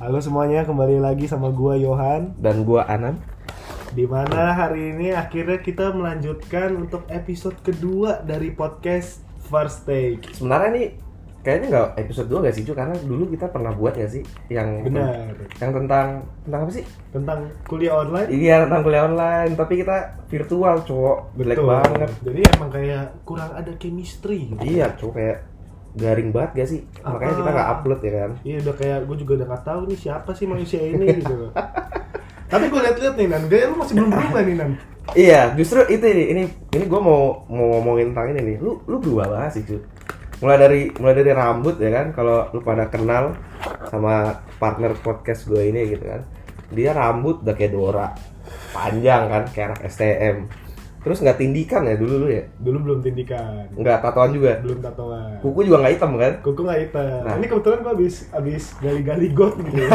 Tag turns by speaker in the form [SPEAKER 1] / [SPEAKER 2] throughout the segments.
[SPEAKER 1] Halo semuanya, kembali lagi sama gua Yohan.
[SPEAKER 2] dan gua Anam.
[SPEAKER 1] Dimana hari ini akhirnya kita melanjutkan untuk episode kedua dari podcast First Take.
[SPEAKER 2] Sebenarnya nih kayaknya nggak episode 2 gak sih Ju? karena dulu kita pernah buat ya sih yang
[SPEAKER 1] Benar.
[SPEAKER 2] yang tentang tentang apa sih?
[SPEAKER 1] Tentang kuliah online.
[SPEAKER 2] Iya tentang kuliah online tapi kita virtual cowok jelek banget.
[SPEAKER 1] Jadi emang kayak kurang ada chemistry. gitu.
[SPEAKER 2] Iya cowok kayak garing banget gak sih? Makanya kita nggak upload ya kan?
[SPEAKER 1] Iya udah kayak gue juga udah nggak tahu nih siapa sih manusia ini gitu. loh. Tapi gue liat-liat nih Nan, gaya lu masih belum berubah nih Nan.
[SPEAKER 2] Iya justru itu nih ini ini gua mau mau ngomongin tentang ini nih. Lu lu berubah banget sih Ju. Mulai dari mulai dari rambut ya kan kalau lu pada kenal sama partner podcast gue ini gitu kan. Dia rambut udah kayak Dora. Panjang kan kayak anak STM. Terus nggak tindikan ya dulu lu ya?
[SPEAKER 1] Dulu belum tindikan,
[SPEAKER 2] Nggak tatoan juga.
[SPEAKER 1] belum tatoan.
[SPEAKER 2] Kuku juga nggak hitam kan?
[SPEAKER 1] Kuku nggak hitam.
[SPEAKER 2] Nah.
[SPEAKER 1] Ini kebetulan gue abis abis gali-gali got gitu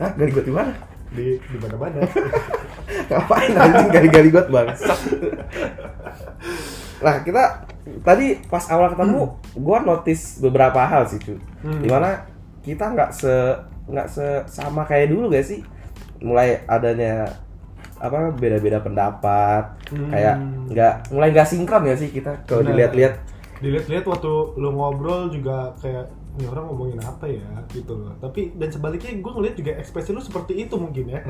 [SPEAKER 2] Hah, gali got di mana?
[SPEAKER 1] di di mana-mana.
[SPEAKER 2] Ngapain anjing gali-gali got bangsat. Nah, kita tadi pas awal ketemu, gua notice beberapa hal sih, cuy.
[SPEAKER 1] Hmm.
[SPEAKER 2] Dimana kita nggak se nggak se sama kayak dulu gak sih? Mulai adanya apa beda-beda pendapat,
[SPEAKER 1] Hmm.
[SPEAKER 2] kayak nggak mulai nggak sinkron ya sih kita kalau
[SPEAKER 1] Benar.
[SPEAKER 2] dilihat-lihat.
[SPEAKER 1] Dilihat-lihat waktu lu ngobrol juga kayak ini orang ngomongin apa ya gitu loh. Tapi dan sebaliknya gue ngeliat juga ekspresi lu seperti itu mungkin ya.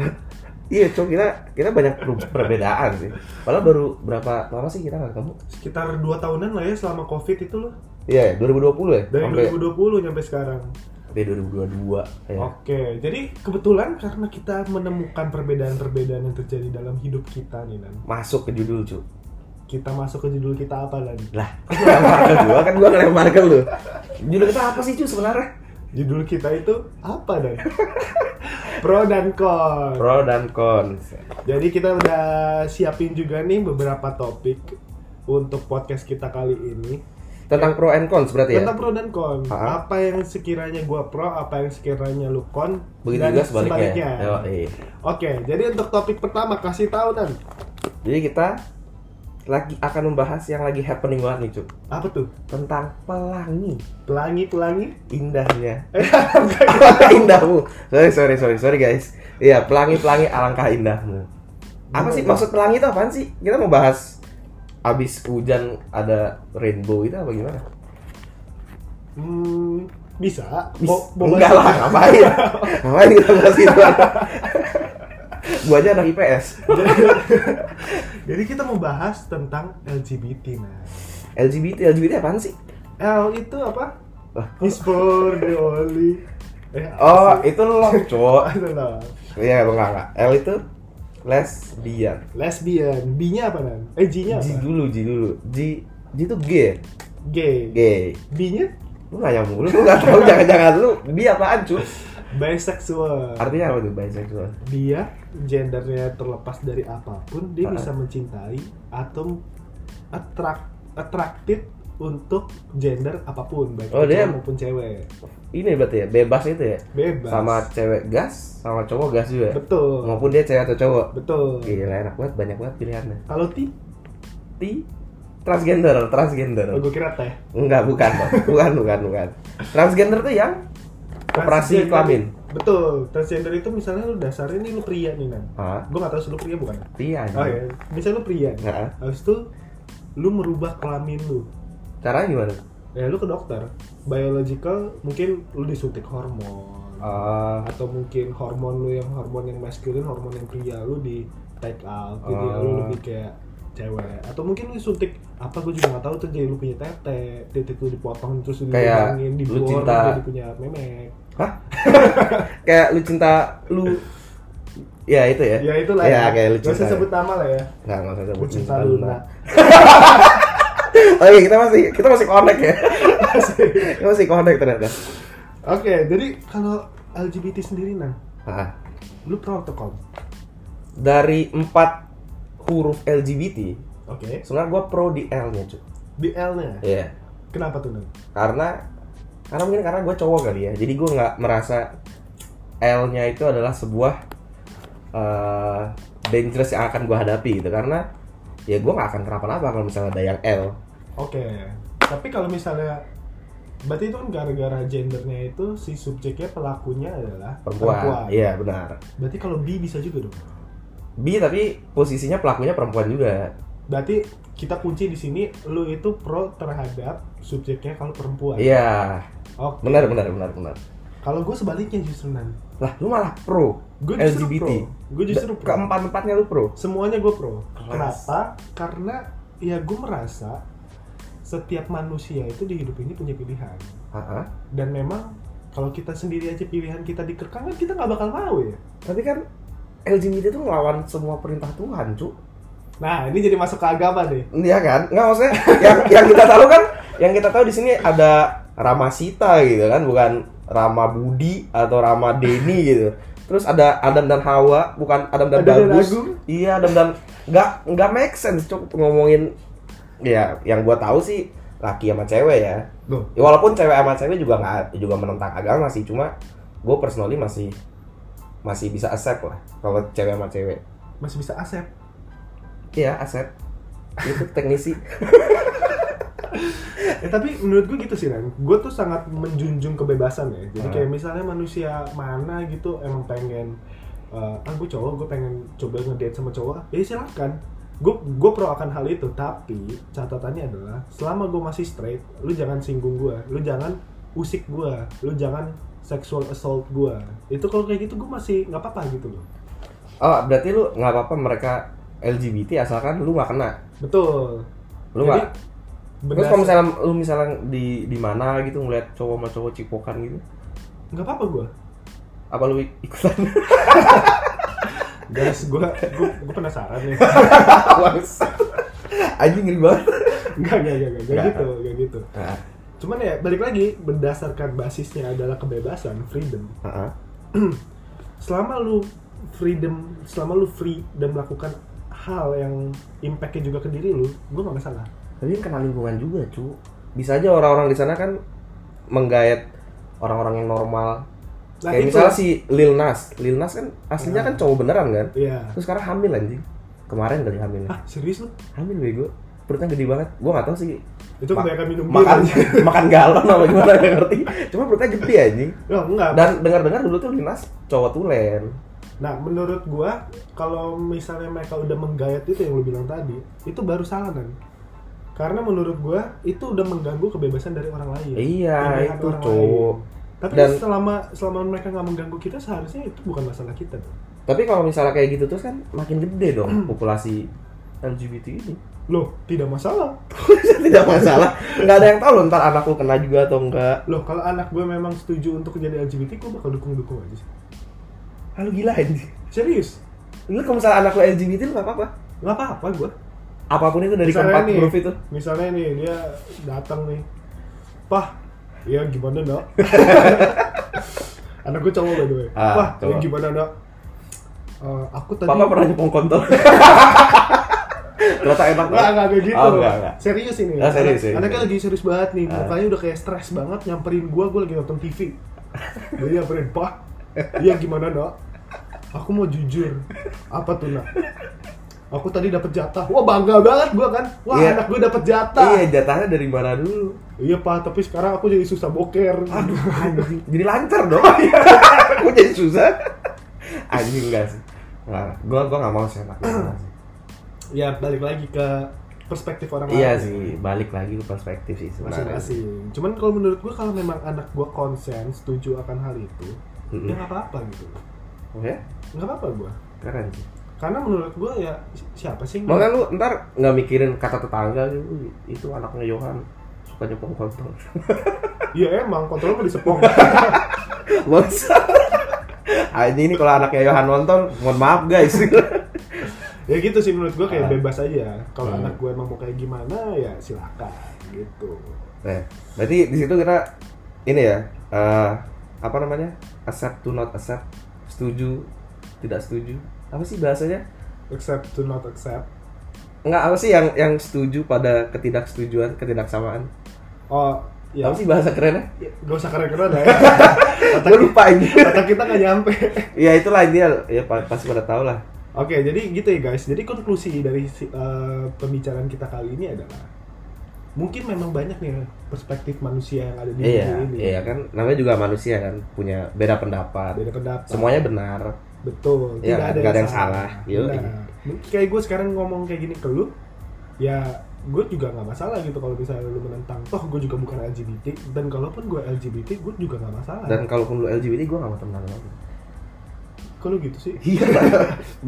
[SPEAKER 2] Iya, cuy, kita kita banyak per- perbedaan sih. Padahal baru berapa lama sih kita nggak ketemu?
[SPEAKER 1] Sekitar 2 tahunan lah ya selama covid itu loh.
[SPEAKER 2] Iya, 2020 ya?
[SPEAKER 1] Dari
[SPEAKER 2] sampai
[SPEAKER 1] 2020 sampai sekarang.
[SPEAKER 2] sampai 2022. Ya.
[SPEAKER 1] Oke, jadi kebetulan karena kita menemukan perbedaan-perbedaan yang terjadi dalam hidup kita nih Nan.
[SPEAKER 2] masuk ke judul cu
[SPEAKER 1] Kita masuk ke judul kita apa Nan?
[SPEAKER 2] lah kok lu lempar ke gua kan gua ngelempar ke lu judul kita apa sih cu sebenarnya
[SPEAKER 1] Judul kita itu apa Nan? Pro dan con.
[SPEAKER 2] pro dan cons
[SPEAKER 1] Jadi kita udah siapin juga nih beberapa topik untuk podcast kita kali ini
[SPEAKER 2] tentang pro and cons berarti ya
[SPEAKER 1] tentang pro dan kon.
[SPEAKER 2] Ha?
[SPEAKER 1] Apa yang sekiranya gua pro, apa yang sekiranya lu kon
[SPEAKER 2] begitu
[SPEAKER 1] dan
[SPEAKER 2] juga sebaliknya, Yo, iya.
[SPEAKER 1] Oke, jadi untuk topik pertama kasih tahu Nan.
[SPEAKER 2] jadi kita lagi akan membahas yang lagi happening banget nih cu
[SPEAKER 1] Apa tuh?
[SPEAKER 2] tentang pelangi
[SPEAKER 1] Pelangi-pelangi?
[SPEAKER 2] indahnya indahmu sorry sorry sorry sorry guys iya pelangi pelangi alangkah indahmu apa sih maksud pelangi itu apaan sih kita mau bahas abis hujan ada rainbow itu apa gimana
[SPEAKER 1] Hmm, bisa.
[SPEAKER 2] Bis,
[SPEAKER 1] Bo- boba-
[SPEAKER 2] enggak lah, ngapain? ngapain kita bahas itu? gua aja anak IPS.
[SPEAKER 1] Jadi kita mau bahas tentang LGBT nah.
[SPEAKER 2] LGBT, LGBT apaan sih?
[SPEAKER 1] L itu apa?
[SPEAKER 2] Lah.
[SPEAKER 1] Is for the only. Eh,
[SPEAKER 2] Oh, itu lo, cowok.
[SPEAKER 1] I don't know.
[SPEAKER 2] Iya, enggak, enggak. L itu lesbian.
[SPEAKER 1] lesbian B-nya apa nan? Eh G-nya apa?
[SPEAKER 2] G dulu, G dulu. G, G itu gay.
[SPEAKER 1] Gay.
[SPEAKER 2] Gay.
[SPEAKER 1] B-nya
[SPEAKER 2] Lu nanya mulu, lu gak tau jangan-jangan lu bi apaan cu
[SPEAKER 1] bisexual.
[SPEAKER 2] Artinya apa tuh bisexual?
[SPEAKER 1] Dia gendernya terlepas dari apapun, dia
[SPEAKER 2] Ah.
[SPEAKER 1] bisa mencintai atau attract attracted untuk gender apapun baik
[SPEAKER 2] Oh,
[SPEAKER 1] itu
[SPEAKER 2] dia-
[SPEAKER 1] cowok maupun cewek.
[SPEAKER 2] Ini berarti ya, bebas itu ya?
[SPEAKER 1] Bebas.
[SPEAKER 2] Sama cewek gas, sama cowok gas juga
[SPEAKER 1] betul.
[SPEAKER 2] Maupun dia cewek atau cowok
[SPEAKER 1] Betul.
[SPEAKER 2] Gila enak banget, banyak banget pilihannya
[SPEAKER 1] Kalau ti,
[SPEAKER 2] Ti transgender, transgender.
[SPEAKER 1] oh, gue kira teh.
[SPEAKER 2] Enggak, bukan, Bang. bukan, bukan, bukan. Transgender tuh yang
[SPEAKER 1] Transgender-
[SPEAKER 2] operasi kelamin.
[SPEAKER 1] Betul. Transgender itu misalnya lu dasarnya nih lu pria nih nan.
[SPEAKER 2] Hah?
[SPEAKER 1] Gue gak tahu sih lu pria bukan.
[SPEAKER 2] Ti aja.
[SPEAKER 1] Oh ya, misalnya lu pria. nih.
[SPEAKER 2] Nah,
[SPEAKER 1] Habis itu lu merubah kelamin lu.
[SPEAKER 2] caranya gimana?
[SPEAKER 1] ya lu ke dokter biological mungkin lu disuntik hormon
[SPEAKER 2] Ah,
[SPEAKER 1] atau mungkin hormon lu yang hormon yang maskulin hormon yang pria lu di take out jadi ya,
[SPEAKER 2] Ah.
[SPEAKER 1] lu lebih kayak cewek atau mungkin lu disuntik apa gue juga nggak tahu tuh jadi lu punya tete titik lu dipotong terus lu
[SPEAKER 2] Kayak
[SPEAKER 1] dihilangin,
[SPEAKER 2] lu
[SPEAKER 1] dibuang,
[SPEAKER 2] cinta.
[SPEAKER 1] jadi punya memek
[SPEAKER 2] kayak lu cinta lu Ya itu ya.
[SPEAKER 1] ya itulah
[SPEAKER 2] Ya, kayak lu
[SPEAKER 1] Nggak usah
[SPEAKER 2] cinta.
[SPEAKER 1] sebut nama lah ya
[SPEAKER 2] Enggak, enggak usah
[SPEAKER 1] lu
[SPEAKER 2] sebut
[SPEAKER 1] cinta Luna
[SPEAKER 2] Oh iya, kita masih kita masih connect ya. kita masih connect ternyata.
[SPEAKER 1] oke jadi kalau LGBT sendiri nah
[SPEAKER 2] Ah,
[SPEAKER 1] lu pro atau con? oke
[SPEAKER 2] dari empat huruf LGBT, sebenarnya gua pro di L-nya, cuy.
[SPEAKER 1] di L nya
[SPEAKER 2] Iya.
[SPEAKER 1] kenapa tuh Nan?
[SPEAKER 2] karena karena mungkin karena gue cowok kali ya jadi gue nggak merasa L-nya itu adalah sebuah eh, dangerous yang akan gue hadapi gitu karena ya gue nggak akan kenapa-napa kalau misalnya ada yang L
[SPEAKER 1] Oke, tapi kalau misalnya berarti itu kan gara-gara gendernya itu si subjeknya pelakunya adalah
[SPEAKER 2] perempuan iya benar
[SPEAKER 1] berarti kalau bi bisa juga dong
[SPEAKER 2] bi tapi posisinya pelakunya perempuan juga
[SPEAKER 1] berarti kita kunci di sini lu itu pro terhadap subjeknya kalau perempuan
[SPEAKER 2] iya
[SPEAKER 1] oke
[SPEAKER 2] benar benar benar benar
[SPEAKER 1] kalau gue sebaliknya justru nanti
[SPEAKER 2] lah lu malah pro
[SPEAKER 1] gue justru
[SPEAKER 2] LGBT.
[SPEAKER 1] pro gue justru pro
[SPEAKER 2] keempat empatnya lu pro
[SPEAKER 1] semuanya gue pro
[SPEAKER 2] Keras.
[SPEAKER 1] kenapa karena ya gue merasa setiap manusia itu di hidup ini punya pilihan
[SPEAKER 2] Heeh.
[SPEAKER 1] dan memang kalau kita sendiri aja pilihan kita dikekang kan kita nggak bakal mau ya
[SPEAKER 2] tapi kan LGBT itu melawan semua perintah Tuhan cu
[SPEAKER 1] nah ini jadi masuk ke agama deh
[SPEAKER 2] Iya kan? Nggak maksudnya yang yang kita tahu kan, yang kita tahu di sini ada Rama Sita gitu kan, bukan Rama Budi atau Rama Deni gitu. Terus ada Adam dan Hawa, bukan Adam
[SPEAKER 1] Adam
[SPEAKER 2] dan
[SPEAKER 1] dan
[SPEAKER 2] Bagus.
[SPEAKER 1] Agung.
[SPEAKER 2] Iya, Adam dan nggak nggak make sense cukup ngomongin ya yang gua tahu sih laki sama cewek ya.
[SPEAKER 1] Loh.
[SPEAKER 2] Ya, Walaupun cewek sama cewek juga nggak juga menentang agama sih, cuma gue personally masih masih bisa accept lah kalau cewek sama cewek.
[SPEAKER 1] masih bisa asep
[SPEAKER 2] Iya, accept. Itu teknisi.
[SPEAKER 1] ya, tapi menurut gue gitu sih Ren gue tuh sangat menjunjung kebebasan ya jadi
[SPEAKER 2] Hmm.
[SPEAKER 1] kayak misalnya manusia mana gitu emang pengen eh ah gue cowok gue pengen coba ngedate sama cowok ya silahkan gue gue pro akan hal itu tapi catatannya adalah selama gue masih straight lu jangan singgung gue lu jangan usik gue lu jangan sexual assault gue itu kalau kayak gitu gue masih nggak apa-apa gitu loh
[SPEAKER 2] Oh, berarti lu nggak apa-apa mereka LGBT asalkan lu nggak kena.
[SPEAKER 1] betul
[SPEAKER 2] Lu
[SPEAKER 1] Jadi,
[SPEAKER 2] nggak. Terus
[SPEAKER 1] berdasar-
[SPEAKER 2] kalau misalnya lu misalnya di di mana gitu ngeliat cowok sama cowok cipokan gitu,
[SPEAKER 1] nggak apa-apa gue
[SPEAKER 2] apa lu ik- ikutan?
[SPEAKER 1] guys gue gue penasaran nih
[SPEAKER 2] Bangsat. Anjing ngeri banget.
[SPEAKER 1] Enggak, enggak, enggak, enggak, enggak
[SPEAKER 2] Nggak.
[SPEAKER 1] gitu, enggak gitu.
[SPEAKER 2] Heeh.
[SPEAKER 1] Cuman ya balik lagi berdasarkan basisnya adalah kebebasan, freedom.
[SPEAKER 2] Heeh.
[SPEAKER 1] Selama lu freedom, selama lu free dan melakukan hal yang impact-nya juga ke diri lu, gua gak masalah.
[SPEAKER 2] Tapi kan kena lingkungan juga, cu. Bisa aja orang-orang di sana kan menggayat orang-orang yang normal.
[SPEAKER 1] Nah,
[SPEAKER 2] Kayak
[SPEAKER 1] itu.
[SPEAKER 2] misalnya si Lil Nas, Lil Nas kan aslinya
[SPEAKER 1] Nah.
[SPEAKER 2] kan cowok beneran kan?
[SPEAKER 1] Iya.
[SPEAKER 2] Terus sekarang hamil anjing. Kemarin kali hamilnya.
[SPEAKER 1] Ah, serius lu?
[SPEAKER 2] Hamil bego. Perutnya gede banget. Gua nggak tahu sih
[SPEAKER 1] Itu
[SPEAKER 2] Ma-
[SPEAKER 1] kebanyakan minum bir.
[SPEAKER 2] makan
[SPEAKER 1] anjing.
[SPEAKER 2] makan galon apa gimana nggak ngerti cuma perutnya gede anjing
[SPEAKER 1] Loh, enggak.
[SPEAKER 2] dan dengar dengar dulu tuh Linas cowok tulen
[SPEAKER 1] Nah, menurut gua kalau misalnya mereka udah menggayat itu yang lu bilang tadi, itu baru salah kan. Karena menurut gua itu udah mengganggu kebebasan dari orang lain.
[SPEAKER 2] iya
[SPEAKER 1] Pilihan
[SPEAKER 2] itu
[SPEAKER 1] orang
[SPEAKER 2] cowok
[SPEAKER 1] lain. Tapi
[SPEAKER 2] Dan-
[SPEAKER 1] selama selama mereka nggak mengganggu kita seharusnya itu bukan masalah kita. dong.
[SPEAKER 2] tapi kalau misalnya kayak gitu terus kan makin gede dong populasi LGBT ini
[SPEAKER 1] Loh, tidak masalah.
[SPEAKER 2] tidak masalah nggak ada yang tahu loh ntar anak lu kena juga atau enggak
[SPEAKER 1] Loh, kalau anak gue memang setuju untuk jadi LGBT, gue bakal dukung-dukung aja sih.
[SPEAKER 2] ah, lu gila anjing
[SPEAKER 1] Serius,
[SPEAKER 2] lu kalau misalnya anak lu LGBT lu nggak apa apa
[SPEAKER 1] nggak apa-apa gue.
[SPEAKER 2] apapun itu dari
[SPEAKER 1] Misalnya
[SPEAKER 2] keempat
[SPEAKER 1] nih.
[SPEAKER 2] huruf itu
[SPEAKER 1] Misalnya nih, dia datang nih. Pah, ya gimana nak? anak gue cowok by the way.
[SPEAKER 2] Ah,
[SPEAKER 1] Pah, ya
[SPEAKER 2] cowok.
[SPEAKER 1] gimana nak? Eh, aku tadi...
[SPEAKER 2] papa pernah nyepong kontol ternyata enak
[SPEAKER 1] Enggak,
[SPEAKER 2] banget
[SPEAKER 1] enggak kayak gitu.
[SPEAKER 2] Oh, enggak, enggak.
[SPEAKER 1] Serius ini.
[SPEAKER 2] Ah, serius,
[SPEAKER 1] Anak-
[SPEAKER 2] serius.
[SPEAKER 1] Anaknya lagi serius banget nih.
[SPEAKER 2] Ah.
[SPEAKER 1] Mukanya udah kayak stres banget nyamperin gua, gua lagi nonton TV. Jadi nyamperin, "Pak, iya gimana, Dok? Aku mau jujur. Apa tuh, Nak? Aku tadi dapat jatah. Wah, bangga banget gua kan. Wah,
[SPEAKER 2] Iya.
[SPEAKER 1] anak gua dapat jatah.
[SPEAKER 2] iya jatahnya dari mana dulu
[SPEAKER 1] Iya, Pak, tapi sekarang aku jadi susah boker.
[SPEAKER 2] Aduh, anjing. jadi lancar dong. Aku jadi susah. Anjing enggak sih. Enggak, gua gua enggak mau sih anak gua sih.
[SPEAKER 1] Ya, balik lagi ke perspektif orang
[SPEAKER 2] Iya
[SPEAKER 1] lain.
[SPEAKER 2] sih, balik lagi ke perspektif sih sebenarnya.
[SPEAKER 1] masing-masing. Cuman kalau menurut gua kalau memang anak gua konsen setuju akan hal itu,
[SPEAKER 2] Mm-mm.
[SPEAKER 1] ya nggak apa-apa gitu.
[SPEAKER 2] Oh ya,
[SPEAKER 1] nggak apa-apa gue
[SPEAKER 2] keren sih.
[SPEAKER 1] karena menurut gue ya si- siapa sih yang-
[SPEAKER 2] Makanya lu ntar nggak mikirin kata tetangga gitu, "Wih, itu anaknya Johan suka nyepong kontol.
[SPEAKER 1] iya emang kontrol gue disepong
[SPEAKER 2] Bangsa. Anjing ini kalau anaknya Johan nonton, mohon maaf guys.
[SPEAKER 1] ya gitu sih menurut gue kayak
[SPEAKER 2] Ah.
[SPEAKER 1] bebas aja kalau
[SPEAKER 2] Hmm.
[SPEAKER 1] anak gue emang mau kayak gimana ya silakan gitu
[SPEAKER 2] Nah, berarti di situ kita ini ya eh, apa namanya accept to not accept, setuju tidak setuju apa sih bahasanya?
[SPEAKER 1] accept to not accept
[SPEAKER 2] Enggak apa sih yang yang setuju pada ketidaksetujuan ketidaksamaan?
[SPEAKER 1] oh ya
[SPEAKER 2] Apa sih bahasa kerennya?
[SPEAKER 1] ya, gak usah keren-keren lah ya
[SPEAKER 2] Gue
[SPEAKER 1] gitu.
[SPEAKER 2] lupa ini.
[SPEAKER 1] kata kita nggak nyampe
[SPEAKER 2] ya itulah dia ya pa- pasti pada tahu lah.
[SPEAKER 1] oke jadi gitu ya guys jadi konklusi dari si- eh, pembicaraan kita kali ini adalah mungkin memang banyak nih perspektif manusia yang ada di
[SPEAKER 2] iya
[SPEAKER 1] dunia ini
[SPEAKER 2] iya kan namanya juga manusia kan punya beda pendapat
[SPEAKER 1] beda pendapat
[SPEAKER 2] semuanya benar
[SPEAKER 1] betul tidak ada,
[SPEAKER 2] Iya, nggak
[SPEAKER 1] yang,
[SPEAKER 2] ada yang
[SPEAKER 1] salah,
[SPEAKER 2] salah. Yoi.
[SPEAKER 1] Benar. Mungkin kayak gue sekarang ngomong kayak gini ke lu ya gue juga nggak masalah gitu kalau misalnya lu menentang toh gue juga bukan LGBT dan kalaupun gue LGBT gue juga nggak masalah
[SPEAKER 2] dan kalaupun lu LGBT gue gak mau temenan lagi
[SPEAKER 1] kalau gitu sih
[SPEAKER 2] iya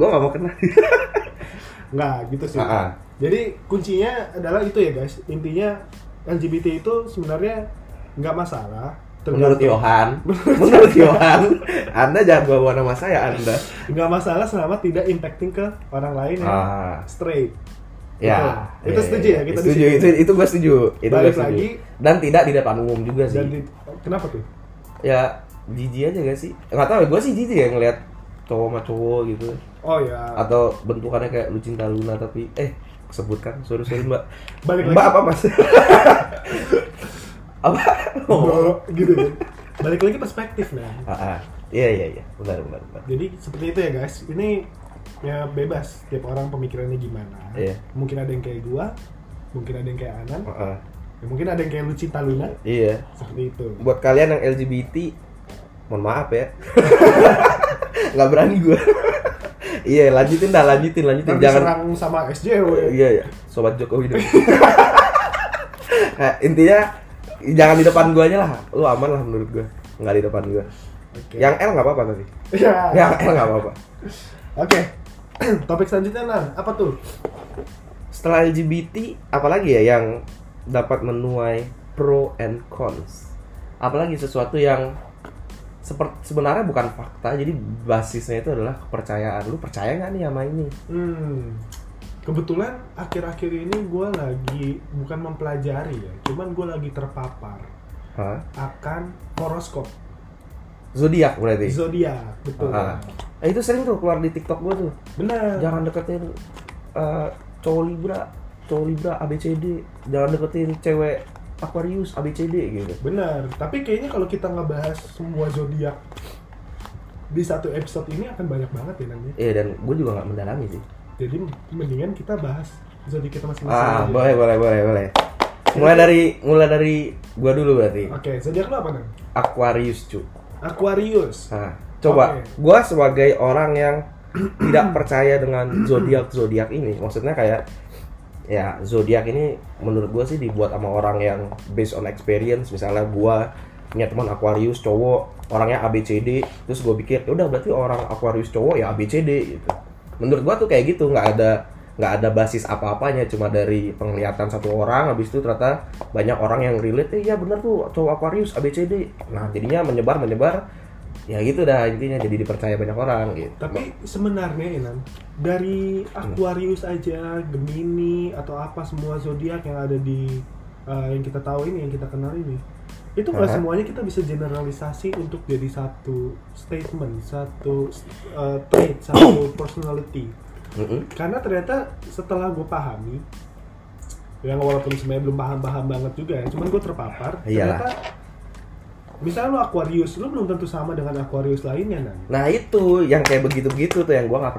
[SPEAKER 2] gue gak mau kenal
[SPEAKER 1] nggak gitu sih
[SPEAKER 2] Ah, ah.
[SPEAKER 1] jadi kuncinya adalah itu ya guys intinya LGBT itu sebenarnya nggak masalah
[SPEAKER 2] menurut
[SPEAKER 1] tergantung-
[SPEAKER 2] Yohan menurut Yohan anda jangan bawa nama saya anda
[SPEAKER 1] nggak masalah selama tidak impacting ke orang lain yang
[SPEAKER 2] ah
[SPEAKER 1] straight
[SPEAKER 2] ya
[SPEAKER 1] Betul. Kita
[SPEAKER 2] iya,
[SPEAKER 1] setuju
[SPEAKER 2] iya.
[SPEAKER 1] ya, kita di
[SPEAKER 2] setuju
[SPEAKER 1] situ.
[SPEAKER 2] itu itu gue setuju itu gue
[SPEAKER 1] balik
[SPEAKER 2] setuju
[SPEAKER 1] lagi
[SPEAKER 2] dan tidak di depan umum juga Iya sih
[SPEAKER 1] dan di, kenapa tuh
[SPEAKER 2] ya jijik aja gak sih nggak tahu gue sih jijik ya ngeliat cowok sama cowok gitu
[SPEAKER 1] oh ya
[SPEAKER 2] atau bentukannya kayak lu cinta Luna tapi eh sebutkan sorry sorry mbak
[SPEAKER 1] balik lagi
[SPEAKER 2] mbak apa mas apa oh.
[SPEAKER 1] Bro, gitu ya. Balik lagi perspektif nah.
[SPEAKER 2] ah, ah. iya iya iya benar benar benar
[SPEAKER 1] Jadi seperti itu ya guys. Ini ya bebas tiap orang pemikirannya gimana.
[SPEAKER 2] Iya.
[SPEAKER 1] Mungkin ada yang kayak gua, mungkin ada yang kayak Anan,
[SPEAKER 2] Ah, ah.
[SPEAKER 1] ya mungkin ada yang kayak Lucita Luna
[SPEAKER 2] iya
[SPEAKER 1] seperti itu.
[SPEAKER 2] buat kalian yang LGBT mohon maaf ya nggak berani gue iya lanjutin dah lanjutin lanjutin
[SPEAKER 1] Jangan
[SPEAKER 2] jangan
[SPEAKER 1] diserang sama SJW.
[SPEAKER 2] iya iya sobat Jokowi dong Nah, intinya jangan di depan gua aja lah lu aman lah menurut gua nggak di depan gua
[SPEAKER 1] Oke.
[SPEAKER 2] yang L nggak apa-apa tadi
[SPEAKER 1] Ya.
[SPEAKER 2] yang L nggak apa-apa
[SPEAKER 1] Oke. Topik selanjutnya Nan, apa tuh?
[SPEAKER 2] setelah LGBT apalagi ya yang dapat menuai pro and cons apalagi sesuatu yang seperti sebenarnya bukan fakta jadi basisnya itu adalah kepercayaan lu percaya nggak nih sama ini
[SPEAKER 1] Hmm. Kebetulan akhir-akhir ini gua lagi bukan mempelajari ya, cuman gua lagi terpapar
[SPEAKER 2] Hah?
[SPEAKER 1] akan horoskop
[SPEAKER 2] zodiak berarti
[SPEAKER 1] zodiak betul
[SPEAKER 2] Ah. Eh, itu sering tuh keluar di TikTok gua tuh
[SPEAKER 1] benar
[SPEAKER 2] jangan deketin eh, cowok libra cowok libra abcd jangan deketin cewek aquarius abcd gitu
[SPEAKER 1] Benar, tapi kayaknya kalau kita ngebahas semua zodiak di satu episode ini akan banyak banget ya nanti.
[SPEAKER 2] iya dan gue juga nggak mendalami sih
[SPEAKER 1] Jadi mendingan kita bahas zodiak kita masing-masing.
[SPEAKER 2] ah
[SPEAKER 1] aja.
[SPEAKER 2] boleh boleh boleh boleh mulai dari mulai dari gue dulu berarti
[SPEAKER 1] Oke, zodiak lu apa nih?
[SPEAKER 2] aquarius cu
[SPEAKER 1] Aquarius.
[SPEAKER 2] nah,
[SPEAKER 1] Oke.
[SPEAKER 2] coba gue sebagai orang yang tidak percaya dengan zodiak zodiak ini maksudnya kayak ya zodiak ini menurut gue sih dibuat sama orang yang based on experience misalnya gue punya teman Aquarius cowok orangnya ABCD terus gue pikir "Ya udah berarti orang Aquarius cowok ya ABCD gitu menurut gue tuh kayak gitu nggak ada nggak ada basis apa-apanya cuma dari penglihatan satu orang habis itu ternyata banyak orang yang relate eh ya bener tuh cowok Aquarius ABCD nah jadinya menyebar menyebar ya gitu dah intinya jadi dipercaya banyak orang gitu
[SPEAKER 1] Tapi sebenarnya Inan, dari Aquarius aja, Gemini atau apa semua zodiak yang ada di eh, yang kita tahu ini, yang kita kenal ini, itu nggak
[SPEAKER 2] Aha.
[SPEAKER 1] semuanya kita bisa generalisasi untuk jadi satu statement, satu eh, trait, satu personality.
[SPEAKER 2] Mm-mm.
[SPEAKER 1] karena ternyata setelah gue pahami yang walaupun sebenarnya belum paham-paham banget juga ya cuman gue terpapar
[SPEAKER 2] Iyalah.
[SPEAKER 1] ternyata misalnya lu Aquarius lu belum tentu sama dengan Aquarius lainnya nan
[SPEAKER 2] Nah itu yang kayak begitu-begitu tuh yang gua nggak